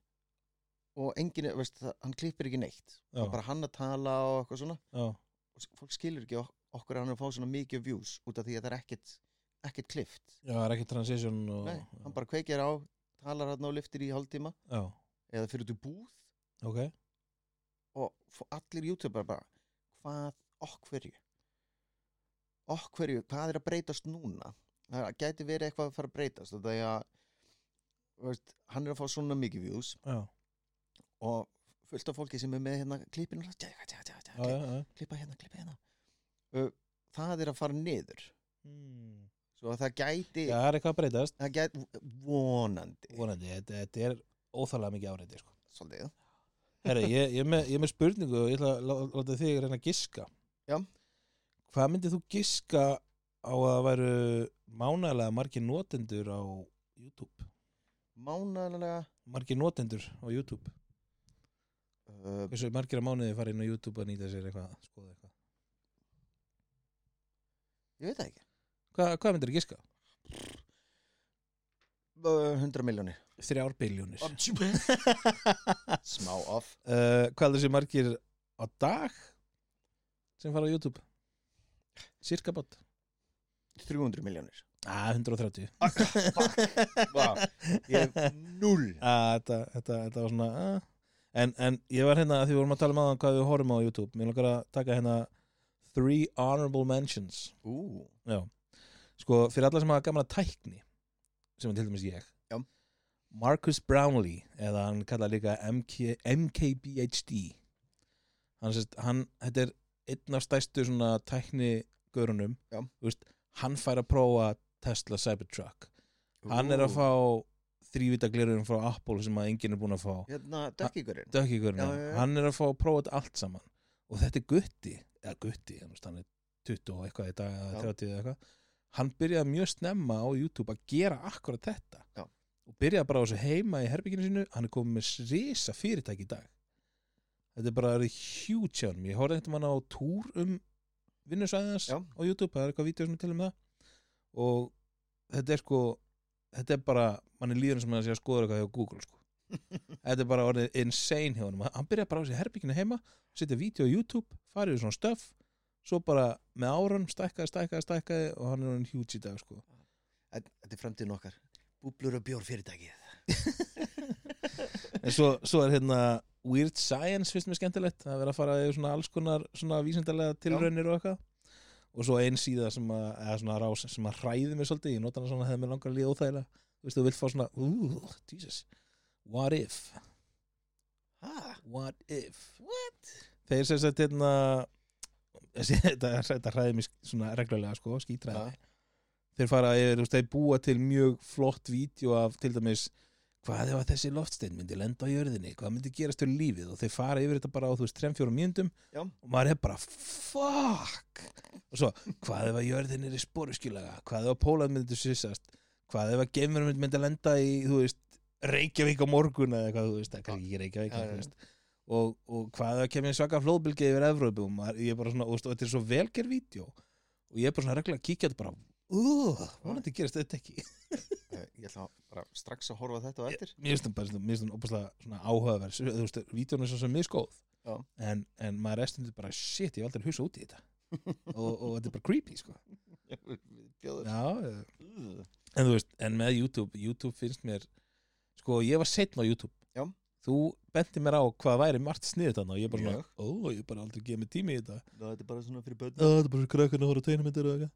A: og enginn, er- veist, það, hann klippir ekki neitt það
B: Já.
A: er bara hann að tala og eitthvað svona
B: Já,
A: og s- fólk skilur ekki ok- okkur að hann er að fá svona mikið views út af því að það er ekkit, ekkit klift
B: já, það er ekki transition og,
A: Nei, hann bara kveikir á, talar hann á liftir í hálftíma
B: Já,
A: eða fyrir út í búð
B: ok
A: og f- allir youtuber bara hvað, okkverju okkverju, hvað er að breytast núna það gæti verið eitthvað að fara að breytast það er að þú veist, hann er að fá svona mikið views
B: Já,
A: og fullt af fólki sem er með hérna klippin og tja, tja, tja,
B: já,
A: tja,
B: já, já.
A: klippa hérna, klippa hérna Ö, það er að fara niður
B: Hmm.
A: svo að það gæti,
B: Já, það er eitthvað að breytast
A: það gæti vonandi,
B: Vonandi, þetta, þetta er óþálega mikið áreiti sko.
A: svolítið
B: Herra, ég, ég, er með, ég er með spurningu og ég ætla að lá- láta þig reyna að giska
A: Já.
B: Hvað myndir þú giska á að það væru mánalega margir notendur á YouTube?
A: mánalega
B: Margir notendur á YouTube
A: uh,
B: Hversu margir að mánuði fara inn á YouTube að nýta sér eitthvað, skoða eitthvað
A: ég veit það ekki
B: Hvað, hvað myndir þú giska?
A: Ö, 100 miljónir
B: Þrjár biljónir uh,
A: smá off
B: Eh, Hvað er þessi margir á dag sem fara á YouTube? Cirka bát
A: 300 miljónir
B: Ah, 130
A: wow. ég hef null
B: ah, þetta, þetta, þetta var svona ah. en, en ég var hérna að því við vorum að tala um aðan hvað við horfum á YouTube Mér langar að taka hérna Three Honorable Mentions
A: Ú,
B: Já. Sko, fyrir alla sem hafa gamla tækni sem er til dæmis ég
A: Já.
B: Marcus Brownlee eða hann kallað líka MK, MKBHD hann, sérst, hann, þetta er einn af stæstu svona tækni görunum
A: Já.
B: veist, hann fær að prófa Tesla Cybertruck hann er að fá þrývita glerurum frá Apple sem að enginn er búin að fá
A: hérna dökkíkurinn Já, já,
B: dökkigurinn,
A: já.
B: hann er að fá að prófa þetta allt saman og þetta er gutti eða gutti, þú veist, hann er 20 og eitthvað í dag eða
A: Já.
B: 30 eða eitthvað hann byrjaði mjög snemma á YouTube að gera akkurat þetta
A: Já.
B: og byrjaði bara á þessu heima í herbygginu sínu hann er komið með risa fyrirtæki í dag þetta er bara að huge hjá hann ég horfði eitthvað á túr um vinnusvæðans
A: Já.
B: á YouTube, það er eitthvað vídeo sem er til um það og þetta er sko þetta er bara, mann er líður sem að sé að skoða eitthvað hjá Google sko þetta er bara orðið insane hjá honum hann byrja bara á þessi herbygginu heima setja vídeo á YouTube, farið í svona stöf svo bara með árun stækkaði, stækkaði, stækkaði og hann er hann huge í dag sko.
A: Þetta þetta er framtíðin okkar Búblur og bjór fyrirtækið
B: en svo, svo er hérna Weird Science finnst mér skemmtilegt það er verið að fara í svona alls konar svona vísindalega tilraunir og eitthvað og svo ein síða sem að, eða svona rás sem að hræði mér svolítið, ég nota hana svona hefði mér langar að líða óþægilega, þú veist þú vilt fá svona úh, Jesus, what if
A: Ha,
B: What if? What? Þeir sem sagt hérna þessi- þetta, þetta hræði mér svona reglulega sko, skítræði þeir fara yfir, þú veist, þeir búa til mjög flott vídeo af til dæmis hvað ef að þessi loftstein myndi lenda á jörðinni hvað myndi gerast til lífið og þeir fara yfir þetta bara á þú veist 3-4 mínundum
A: Já.
B: og maður er bara fuck og svo hvað ef að jörðin er í sporuskilaga hvað ef að pólan myndi sýsast hvað ef að geimur myndi, myndi lenda í þú veist Reykjavík á morgun eða hvað þú veist, það er kannski ekki Reykjavík
A: Já,
B: en
A: já,
B: þú
A: já.
B: veist og, og hvað ef að kemur svaka flóðbylgi yfir Evrópu og maður, ég er bara svona, og, og þetta er svo velgerð vídeo og ég er bara svona reglulega að kíkja á þetta bara uh, vonandi gerist þetta ekki
A: Eh, Ég ætla bara strax að horfa á þetta og eftir
B: mér finnst hún bara svona- mér finnst hún opaslega svona áhugaverð Svo- þú veist, vítjónu er svo sem miskóð
A: Já.
B: en, en maður er stundið bara shit, ég hef aldrei hugsa út í þetta og, og þetta er bara creepy sko.
A: Bjóður
B: já, eh, en þú veist, en með YouTube YouTube finnst mér, sko ég var setn á YouTube
A: Já.
B: þú benti mér á hvað væri margt sniðið þannig og ég bara,
A: Mjög.
B: svona, ó, ég hef bara aldrei gefið mér tími í þetta
A: Þetta er bara svona fyrir
B: "Ó,
A: börn
B: þetta er bara svo krakkarinn að horfa tveinamindir og eitthvað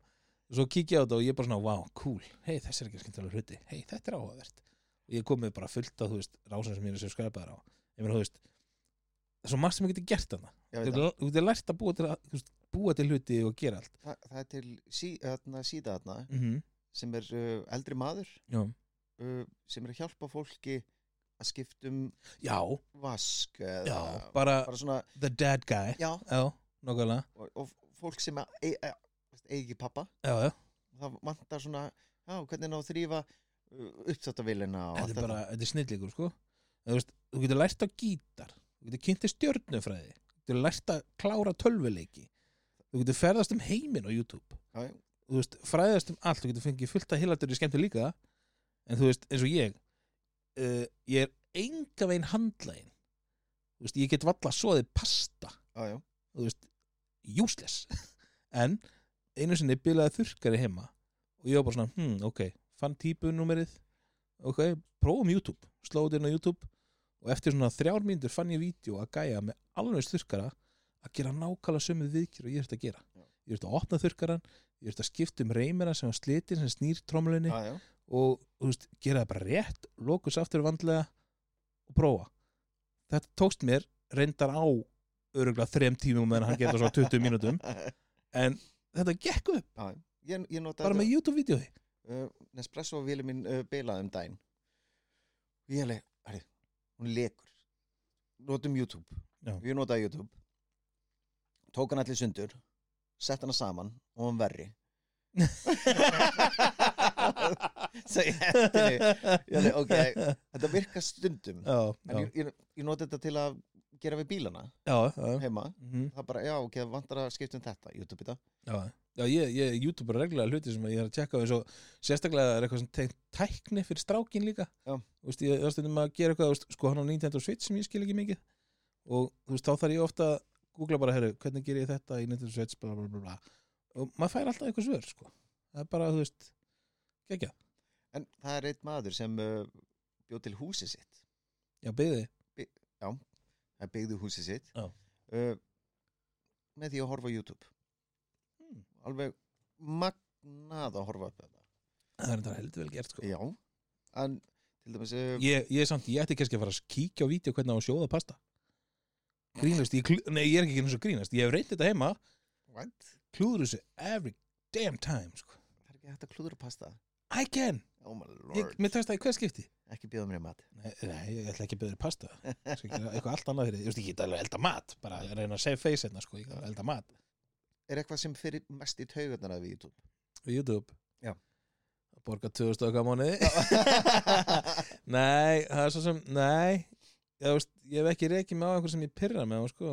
B: svo kíkja á þetta og ég bara svona, wow, cool hei, þessi er ekki skemmtilega hluti, hei, þetta er áhugavert og ég kom með bara fullt af, þú veist, rásum sem ég er sem skræpaðar á, ég meina, þú veist það er svo margt sem ég geti gert þarna
A: Ég veit
B: þú
A: það.
B: þú ert lært að búa til, að- þú veist, búa til hluti og gera allt
A: Þa- Það er til sí, þarna, síða þarna
B: mm -hmm.
A: sem er uh, eldri maður
B: já.
A: uh, sem er að hjálpa fólki að skipta um
B: já,
A: vask eða,
B: já, bara
A: bara svona
B: the dad guy
A: já,
B: já, nokkulega
A: og, og fólk sem að eigi e, e, ekki pappa
B: já, já.
A: það vantar svona já, hvernig ná að þrýfa uppsátavillina og
B: þetta er bara, þetta er snillíkur sko En þú, veist, þú getur lært á gítar þú getur kynnti stjörnufræði þú getur lært að klára tölvuleiki þú getur ferðast um heiminn á YouTube
A: Já, já.
B: þú veist, fræðast um allt þú getur fengið fullt að hilatur í skemmtu líka en þú veist, eins og ég uh, ég er enga veginn handlægin þú veist, ég get valla svoðið pasta
A: já, já,
B: þú veist, useless en einu sinni bilaði þurrkari heima og ég var bara svona, hmm, ok fann típunúmerið ok, prófum YouTube, slóðu inn á YouTube og eftir svona þrjár mínútur fann ég vídeo að gæja með alveg þurrkara að gera nákvæmlega sömu viðkjör og ég þurfti að gera
A: Já.
B: ég þurfti að opna þurrkaran ég þurfti að skipta um reymera sem var slitin sem snýr tromlunni
A: já, já.
B: og þú veist, gera það bara rétt lokus aftur vandlega og prófa þetta tókst mér reyndar á öruglega þrem tímum meðan hann geta svo 20 mínútum en þetta gekk upp
A: Ég, ég nota
B: bara með YouTube-vídeói
A: uh, Nespresso vili mín uh, bilaði um daginn og ég leik, herri, hún lekur notum YouTube
B: Já.
A: ég notaði YouTube tók hann allir sundur sett hana saman og hann verri svo ég hendi henni. ég leik, ok, þetta virkar stundum
B: já,
A: en
B: já,
A: ég, ég, ég nota þetta til að gera við bílana
B: já, já,
A: heima
B: mhm,
A: það bara, já, ok, það vantar að skipta um þetta YouTube í dag
B: já. já ég, ég YouTube er reglulega hluti sem ég er að tjekka á eins og sérstaklega er eitthvað sem tengt tækni fyrir strákin líka
A: Já.
B: Þú veist, ég er stundum að gera eitthvað þú veist, sko hann á Nintendo Switch sem ég skil ekki mikið og þú veist, þá þarf ég ofta að googla bara, herru, hvernig ger ég þetta í Nintendo Switch bla, bla, bla, bla. og maður fær alltaf eitthvað svör sko. það er bara, þú veist gekkja,
A: en það er einn maður sem uh, bjó til húsið sitt
B: já, byggði
A: það byggði húsið sitt
B: Já.
A: uh, með því að horfa á YouTube
B: Hmm.
A: alveg magnað að horfa upp þetta
B: það er þetta heldur vel gert sko.
A: já, en til dæmis uh,
B: ég, ég samt, ég ætti kannski að fara að kíkja á vídeo hvernig á að sjóða pasta grínast, ég, kl- nei, ég er ekki eins og grínast ég hef reynt þetta heima,
A: what?
B: klúður þessu every damn time, sko
A: það er ekki hægt að klúður að pasta
B: I can,
A: oh my
B: ég,
A: lord,
B: mér tæst það í hver skipti
A: ekki bjóða mér í mat
B: Nei, nei, ég ætla ekki að byrja pasta Sko, Ég skal gera eitthvað allt annað fyrir þig. Ég veist ekki, ég ætla að elda mat bara að reyna að save face hérna sko, ég ætla að elda mat
A: er eitthvað sem fyrir mest í taugarnar af YouTube
B: Við YouTube
A: Já.
B: Að Borga 2000 okkar mánuði Nei, það er svo sem, nei Ég, veist, ég hef ekki reikið mig á einhver sem ég pyrra með sko.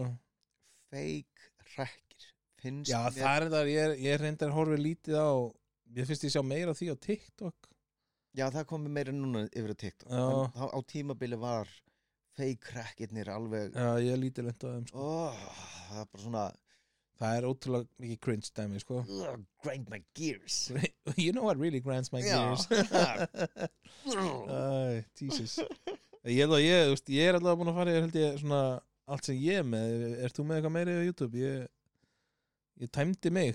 A: fake hrekkir finnst
B: Já,
A: mér
B: það er það, ég, er- ég reyndar horfið lítið á Ég finnst ég sjá meira af því á TikTok
A: Já, það komi meira núna yfir að TikTok
B: Já.
A: En þá, Á tímabili var fake crackirnir alveg
B: Já, ég er lítið lent á þeim sko.
A: oh, Það er bara svona
B: Það er ótrúlega mikið cringe dæmi sko.
A: ugh, Grind my gears
B: You know what really grinds my
A: Mm. Já.
B: gears Æ, Jesus Ég held að ég, þú veist, ég er allavega búin að fara ég held ég svona allt sem ég er með er, er þú með eitthvað meiri á YouTube? Ég, ég tæmdi mig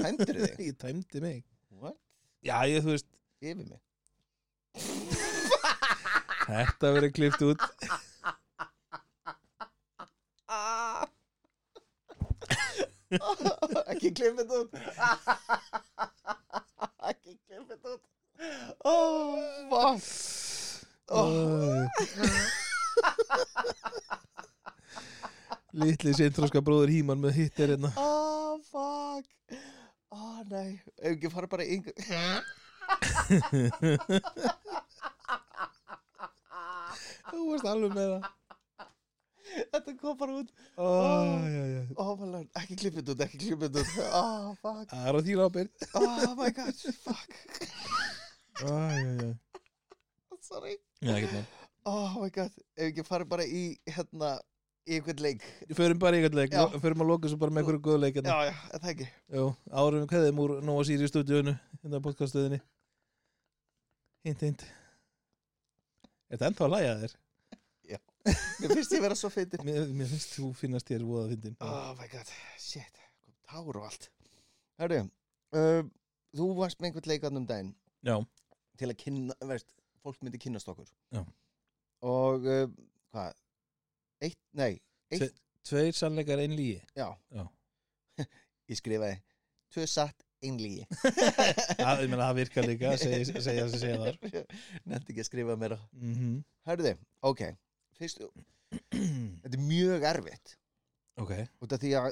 A: Hæmdur þig
B: Ég tæmdi mig
A: What?
B: Já, ég, þú veist,
A: Yfir mig
B: þetta verið klift út
A: Ah. Oh, Ekki klipp þetta út Ekki klipp þetta út Oh, fuck
B: oh. Litli sintróska bróður Híman með hitt er hérna
A: Oh, fuck Oh, nei Ef ekki fara bara í yngur
B: Þú varst alveg með það
A: Þetta kom bara út
B: oh, já, já.
A: Oh my lord, ekki klippið út, ekki klippið út Oh fuck,
B: Það er á þín ábyrð
A: oh my god, fuck
B: oh, já, já.
A: Sorry
B: Já, ekkert mál.
A: Oh my god, ef ekki farið bara í hérna, í einhvern leik
B: Við förum bara í einhvern leik
A: Já.
B: lo- förum að loka svo bara með einhverju góðu leik hérna.
A: Já, já, er það ekki
B: Jú, árum við kveðum úr Nóa Sirius stúdíóinu hérna á podcaststöðinni hint, hint Er þetta ennþá að læja þér?
A: Mér finnst ég vera svo feitir
B: Mér, mér finnst þú finnast þér voða fyndin
A: Oh my god, shit, kom tár og allt Herru, uh, þú varst með einhvern leikarn um daginn
B: Já,
A: til að kynna, veist, fólk myndi kynnast okkur
B: Já.
A: Og, uh, hvað, eitt, nei, eitt,
B: tveir sannleikar einn lígi
A: já
B: Já.
A: Ég skrifaði, tvö satt, ein lígi
B: Það, ég meina, það virkar líka að segja það segja, sem segja þar
A: Nefndi ekki að skrifa meira
B: mm
A: Herru, ok, fyrst, þetta er mjög erfitt
B: Ok,
A: út af því að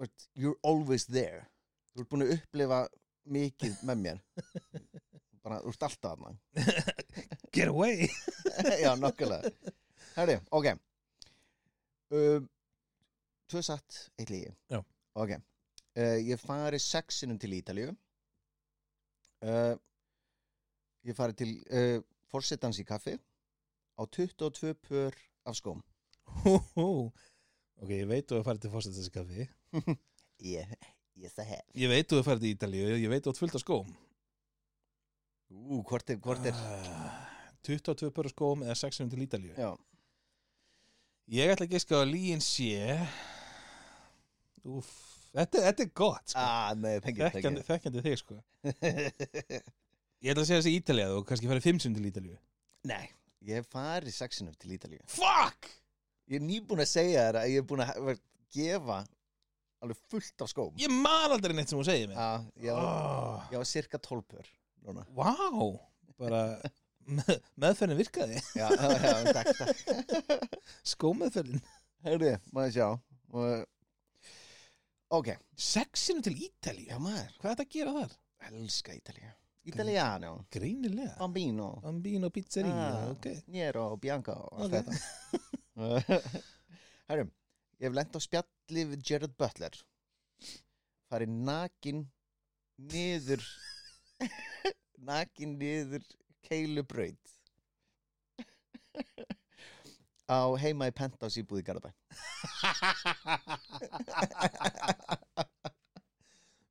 A: veist, you're always there þú ert búin að upplifa mikið með mér bara, þú ert alltaf þarna
B: get away
A: já, nokkulega herri, ok um, tvö satt, eitt lígi
B: Já.
A: ok, uh, ég fari sex sinnum til Ítalíu uh, ég fari til uh, forsetans í kaffi á 22 pör af skóm
B: hú, hú. Ok, ég veit þú að fara til fórstæðskaffi
A: ég, ég það hef
B: Ég veit þú að fara til Ítalíu, ég veit þú að fullt af skóm
A: ú, hvort er, hvort er
B: Ah, 22 pöru skóm eða 6 til Ítalíu
A: já,
B: Ég ætla að giska á að líin sé Úf, þetta, þetta er gott sko.
A: ah, nei, pengi,
B: þekkjandi, þekkjandi þig sko Ég ætla að segja þessi Ítalíu og kannski fara 5 til Ítalíu
A: Nei, ég hef farið sexinum til Ítalíu
B: Fuck!
A: Ég er nýbúin að segja þér að ég er búin að ver- gefa alveg fullt af skóm
B: Ég man aldrei neitt sem hún segir mér
A: Já, ég var,
B: Ah.
A: ég var cirka tólpur núna
B: Vá, bara me- meðferðin virkaði,
A: Já, já, já, takk, takk
B: skómeðferðin
A: Heyrðu, maður sjá Og- Ok,
B: Sexinu til Ítalíu,
A: já maður,
B: hvað er þetta að gera þar?
A: elska Ítalíu Italiano,
B: Greinilega,
A: bambino
B: bambino pizzeria,
A: Ah.
B: ok
A: Nero, Bianca og allt
B: Ok.
A: þetta Herru, ég hef lent á spjalli við Gerard Butler farið nakin niður nakin niður keilubraut á heima í pentás íbúð í Garabæ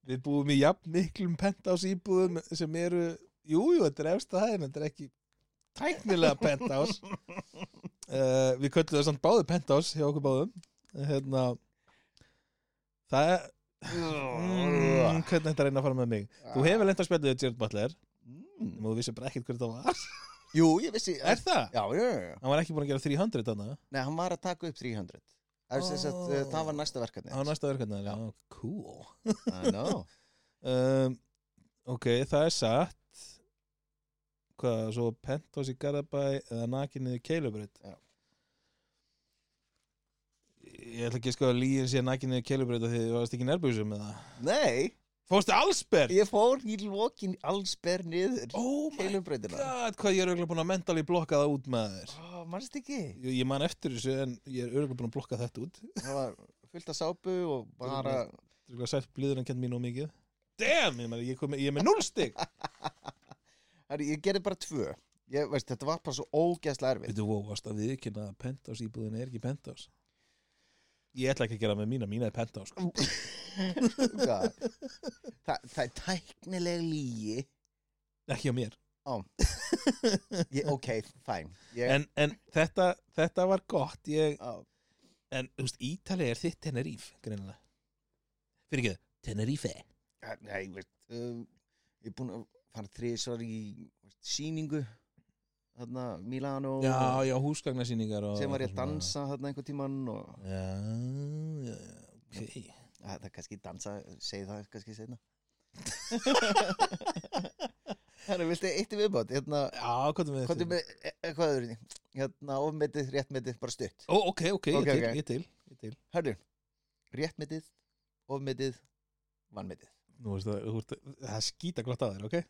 B: Við búum í jafn miklum pentás íbúðum sem eru, jújú, jú, þetta er efsta hæðin, þetta er ekki tæknilega pentás. uh, við köllum það samt báðu pentás hjá okkur báðum. Hérna, það er, mm, hvernig þetta reyna að fara með mig?
A: Ah.
B: Þú hefur lent að spjalla við Gerard Butler,
A: mm.
B: nema þú vissir bara ekkert hvernig það var.
A: Jú, ég vissi
B: er það?
A: Já, já, já, já.
B: Hann var ekki búin að gera 300 þannig,
A: Nei, hann var að taka upp 300 Það, oh. að,
B: Ó.
A: það var næsta verkefni
B: á næsta verkefni, já, cool.
A: I know
B: um, ok, það er satt hvað, svo Pentos í Garabæ eða nakinnið í Keilubraut
A: Já.
B: ég ætla ekki að skoða líin sé nakinnið í Keilubraut af því þið varst ekki í nærbúsum með það
A: Nei
B: fórstu allsberg
A: Ég fór í lokin allsber niður
B: oh my
A: Keilubrautina
B: god, hvað ég er auðvitað búin að mentali blokka það út með þér
A: oh, Manst ekki
B: ég, ég man eftir þessu en ég er auðvitað búin að blokka þetta út
A: Það var fullt af sápu og bara
B: Örugglega sælt blíður en kent mín og mikið damn, ég, meina, ég, kom, ég er með núlstig
A: Herri, Ég gerði bara tvö ég, veist, Þetta var bara svo ógeðslega erfitt
B: Veitu, vó, varst að viðkynna að pentás íbúðin er ekki pentás Ég ætla ekki að gera með mína, mína er pentás sko.
A: Hvað? Þa, Sko, Það er tæknileg lígi
B: Ekki á mér
A: ég, Ok, fæn ég,
B: En, en þetta, þetta var gott ég,
A: á,
B: En þú veist, Ítalið er þitt Teneríf Greinilega Fyrir ekki, Tenerífe
A: Nei, veist um, Ég er búin að fara þrísvar í veist, sýningu Þarna, Milano
B: Já, já, húsgagnasýningar og,
A: sem var ég að
B: eitthvað
A: dansa þarna einhvern tímann og
B: svona. Já, já, já, ok
A: að, það er kannski dansa, segi það kannski seinna Herra, viltu eitt í viðbót? Hérna,
B: Já, hvað er með
A: hvað er með, e- e- hvað er þetta? Hérna, ofmetið, réttmetið, bara stutt
B: Ó, ok, ok,
A: Ok,
B: ég
A: ok.
B: til, ég til, ég til.
A: Herru, réttmetið, ofmetið, vannmetið
B: Nú veist það, þú ert- það skýta gott að þér, ok
A: uh,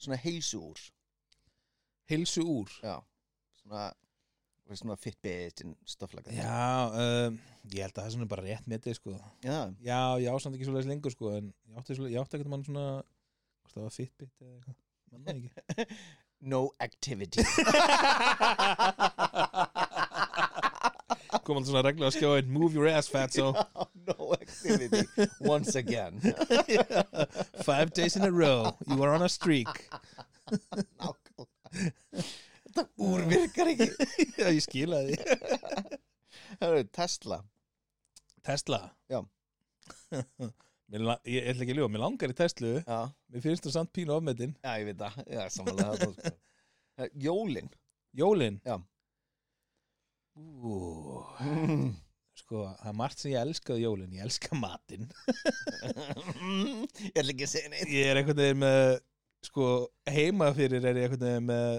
A: Svona heilsu úr
B: Heilsu úr
A: Já, svona Like svona Fitbit and stuff like that
B: Já, um, ég held að það er svona bara rétt metið sko.
A: Já,
B: Já, ég á samt ekki svoleiðis lengur sko, en ég átti, svoleiðis, ég átti ekkert mann svona hvort það var Fitbit eða eitthvað Man það ekki
A: No activity
B: Kom alltaf svona regla að skjá einn Move your ass fat so
A: No activity Once again
B: Five days in a row You are on a streak
A: Nákvæmlega Þetta úrvirkar ekki
B: Já, ég skila því
A: Hörru, Tesla
B: Tesla
A: Já.
B: Mér la- Ég ætla ekki að ljóða, mér langar í Tesla
A: Já,
B: Mér finnst það samt pínu ofmetin
A: já ég veit það Já, samanlega það sko. Herru, Jólin
B: Jólin
A: Já.
B: Ú,
A: Mm.
B: Sko, það er margt sem ég elskaði jólin Ég elska matinn
A: Ég ætla ekki að segja neitt
B: ég er einhvern veginn með sko, heima fyrir er ég einhvern veginn með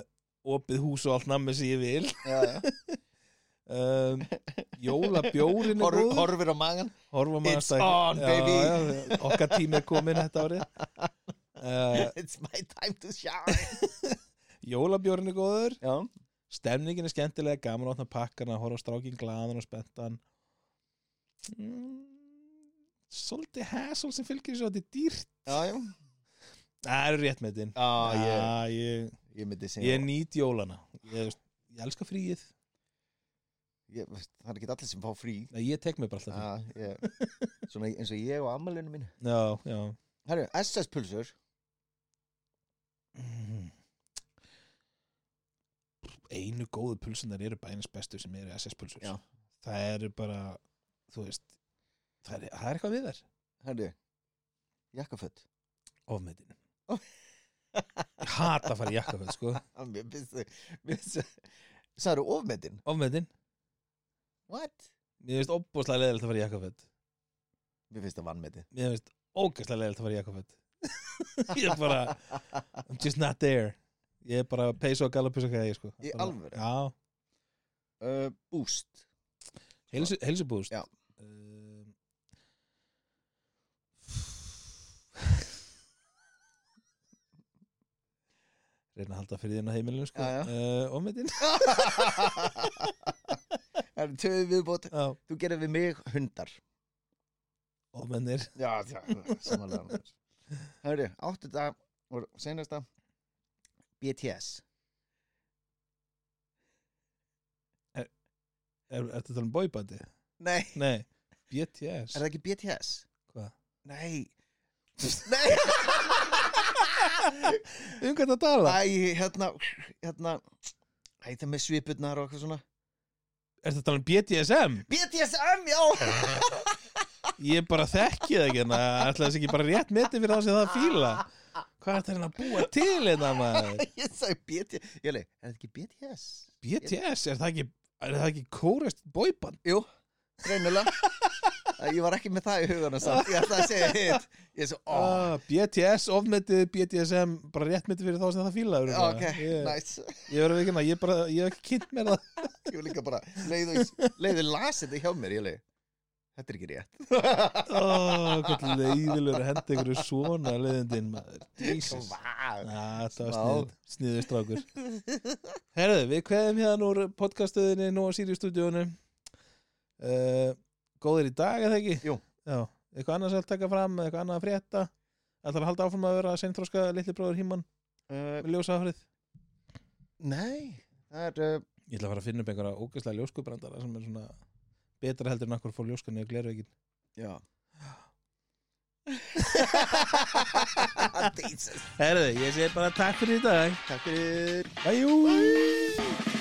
B: opið hús og allt nammi sem ég vil
A: Já, já.
B: um, jólabjórin er
A: Horf,
B: góður
A: Horfir á magan
B: horfa maður
A: It's
B: að-
A: on, baby.
B: já, okkar tími er komin þetta árið uh,
A: It's my time to shine
B: jólabjórin er góður
A: Já,
B: stemningin er skemmtilega, gaman að opna pakkana horfa á strákin glaðan og spenntan mm, svolítið hassle sem fylgir svo þetta er dýrt
A: já, já
B: það eru rétt með þinn
A: Já, Ah, ég,
B: ég,
A: ég myndi segja
B: Ég nýt jólana Ég, veist, ég elska fríið
A: ég, Það er ekki allir sem fá frí
B: Nei, Ég tek mér bara alltaf frí
A: Já, ég, Svona eins og ég og ammælunum mín
B: Já, já
A: Herru, SS-pulsur
B: Einu góðu pulsunar eru bænis bestu sem eru SS-pulsur
A: Já.
B: Það eru bara, þú veist Það er, það er eitthvað við þær
A: Herru, jakkaföt
B: Ofmetin Ég hata að fara í jakkaföt, sko
A: Ah, Mér finnst þau Særu ofmetin
B: Ofmetin
A: What?
B: Mér finnst óbúslega leðilegt að fara í jakkaföt
A: Mér finnst það vannmeti
B: Mér finnst ógæslega leðilegt að fara í jakkaföt Ég er bara I'm just not there Ég er bara peysu og galapusa hvað ég er, sko
A: Í
B: Bara-
A: alvöru?
B: Já
A: uh, Boost
B: Heilsu, heilsubúst
A: Já.
B: um, Reyna að halda fyrir þín á heimilinu sko
A: Já, já.
B: Uh, Ómetin
A: Það er töðu viðbót
B: Já,
A: Þú gerir við mig hundar
B: ómennir
A: Já, já, samanlega Herru, áttunda og senasta BTS
B: Er þetta talað um boybandi?
A: Nei,
B: Nei,
A: er
B: BTS
A: það ekki BTS?
B: Hvað?
A: Nei Nei
B: Um hvað það tala?
A: Æ, hérna Hérna Æ, það með svipurnar og eitthvað svona
B: Er þetta talað um BDSM?
A: BTSM, já
B: Ég bara þekki það ekki en það ætla þess ekki bara rétt metið fyrir þá sem það fíla Hvað er þetta hérna að búa til hérna maður?
A: Ég sagði BTS Ég leið, er það ekki BTS?
B: BTS, er það ekki, er það ekki kórest boyband?
A: Jú, reynilega Æ, Ég var ekki með það í hugana samt Ég ætlaði að segja hitt Ég svo, ó
B: Ah, BTS ofmetið BDSM bara rétt metið fyrir þá sem það fíla örugglega.
A: Ok,
B: ég,
A: nice
B: ég verður ekki hérna, ég bara ég hef ekki kynnt mér það
A: Ég var líka bara Leiðu, leiðu las þetta hjá mér Ég leið, þetta er ekki rétt
B: oh, hvað leiðilur að henda ykkur svona leiðindin maður Jesus
A: Vá
B: Ah, það var
A: Vá.
B: snið, sniður strákur Herðu, við kveðum hérna úr podcastuðinni nú á Sirius stúdíónu uh, Góðir í dag eða ekki?
A: Jú.
B: Já, eitthvað annars að taka fram, eitthvað annað að frétta Ætlar að halda áfram að vera seinþróska litli bróður Híman
A: Uh,
B: með ljósa árið
A: Nei, það er uh,
B: Ég ætla að fara að finna upp einhverja ógæslega ljóskubrandara sem er svona betra heldur en akkur fór ljóskan í glerveikin.
A: Já Jesus
B: Herðu, ég segi bara takk fyrir í dag.
A: Takk fyrir
B: Bæjú!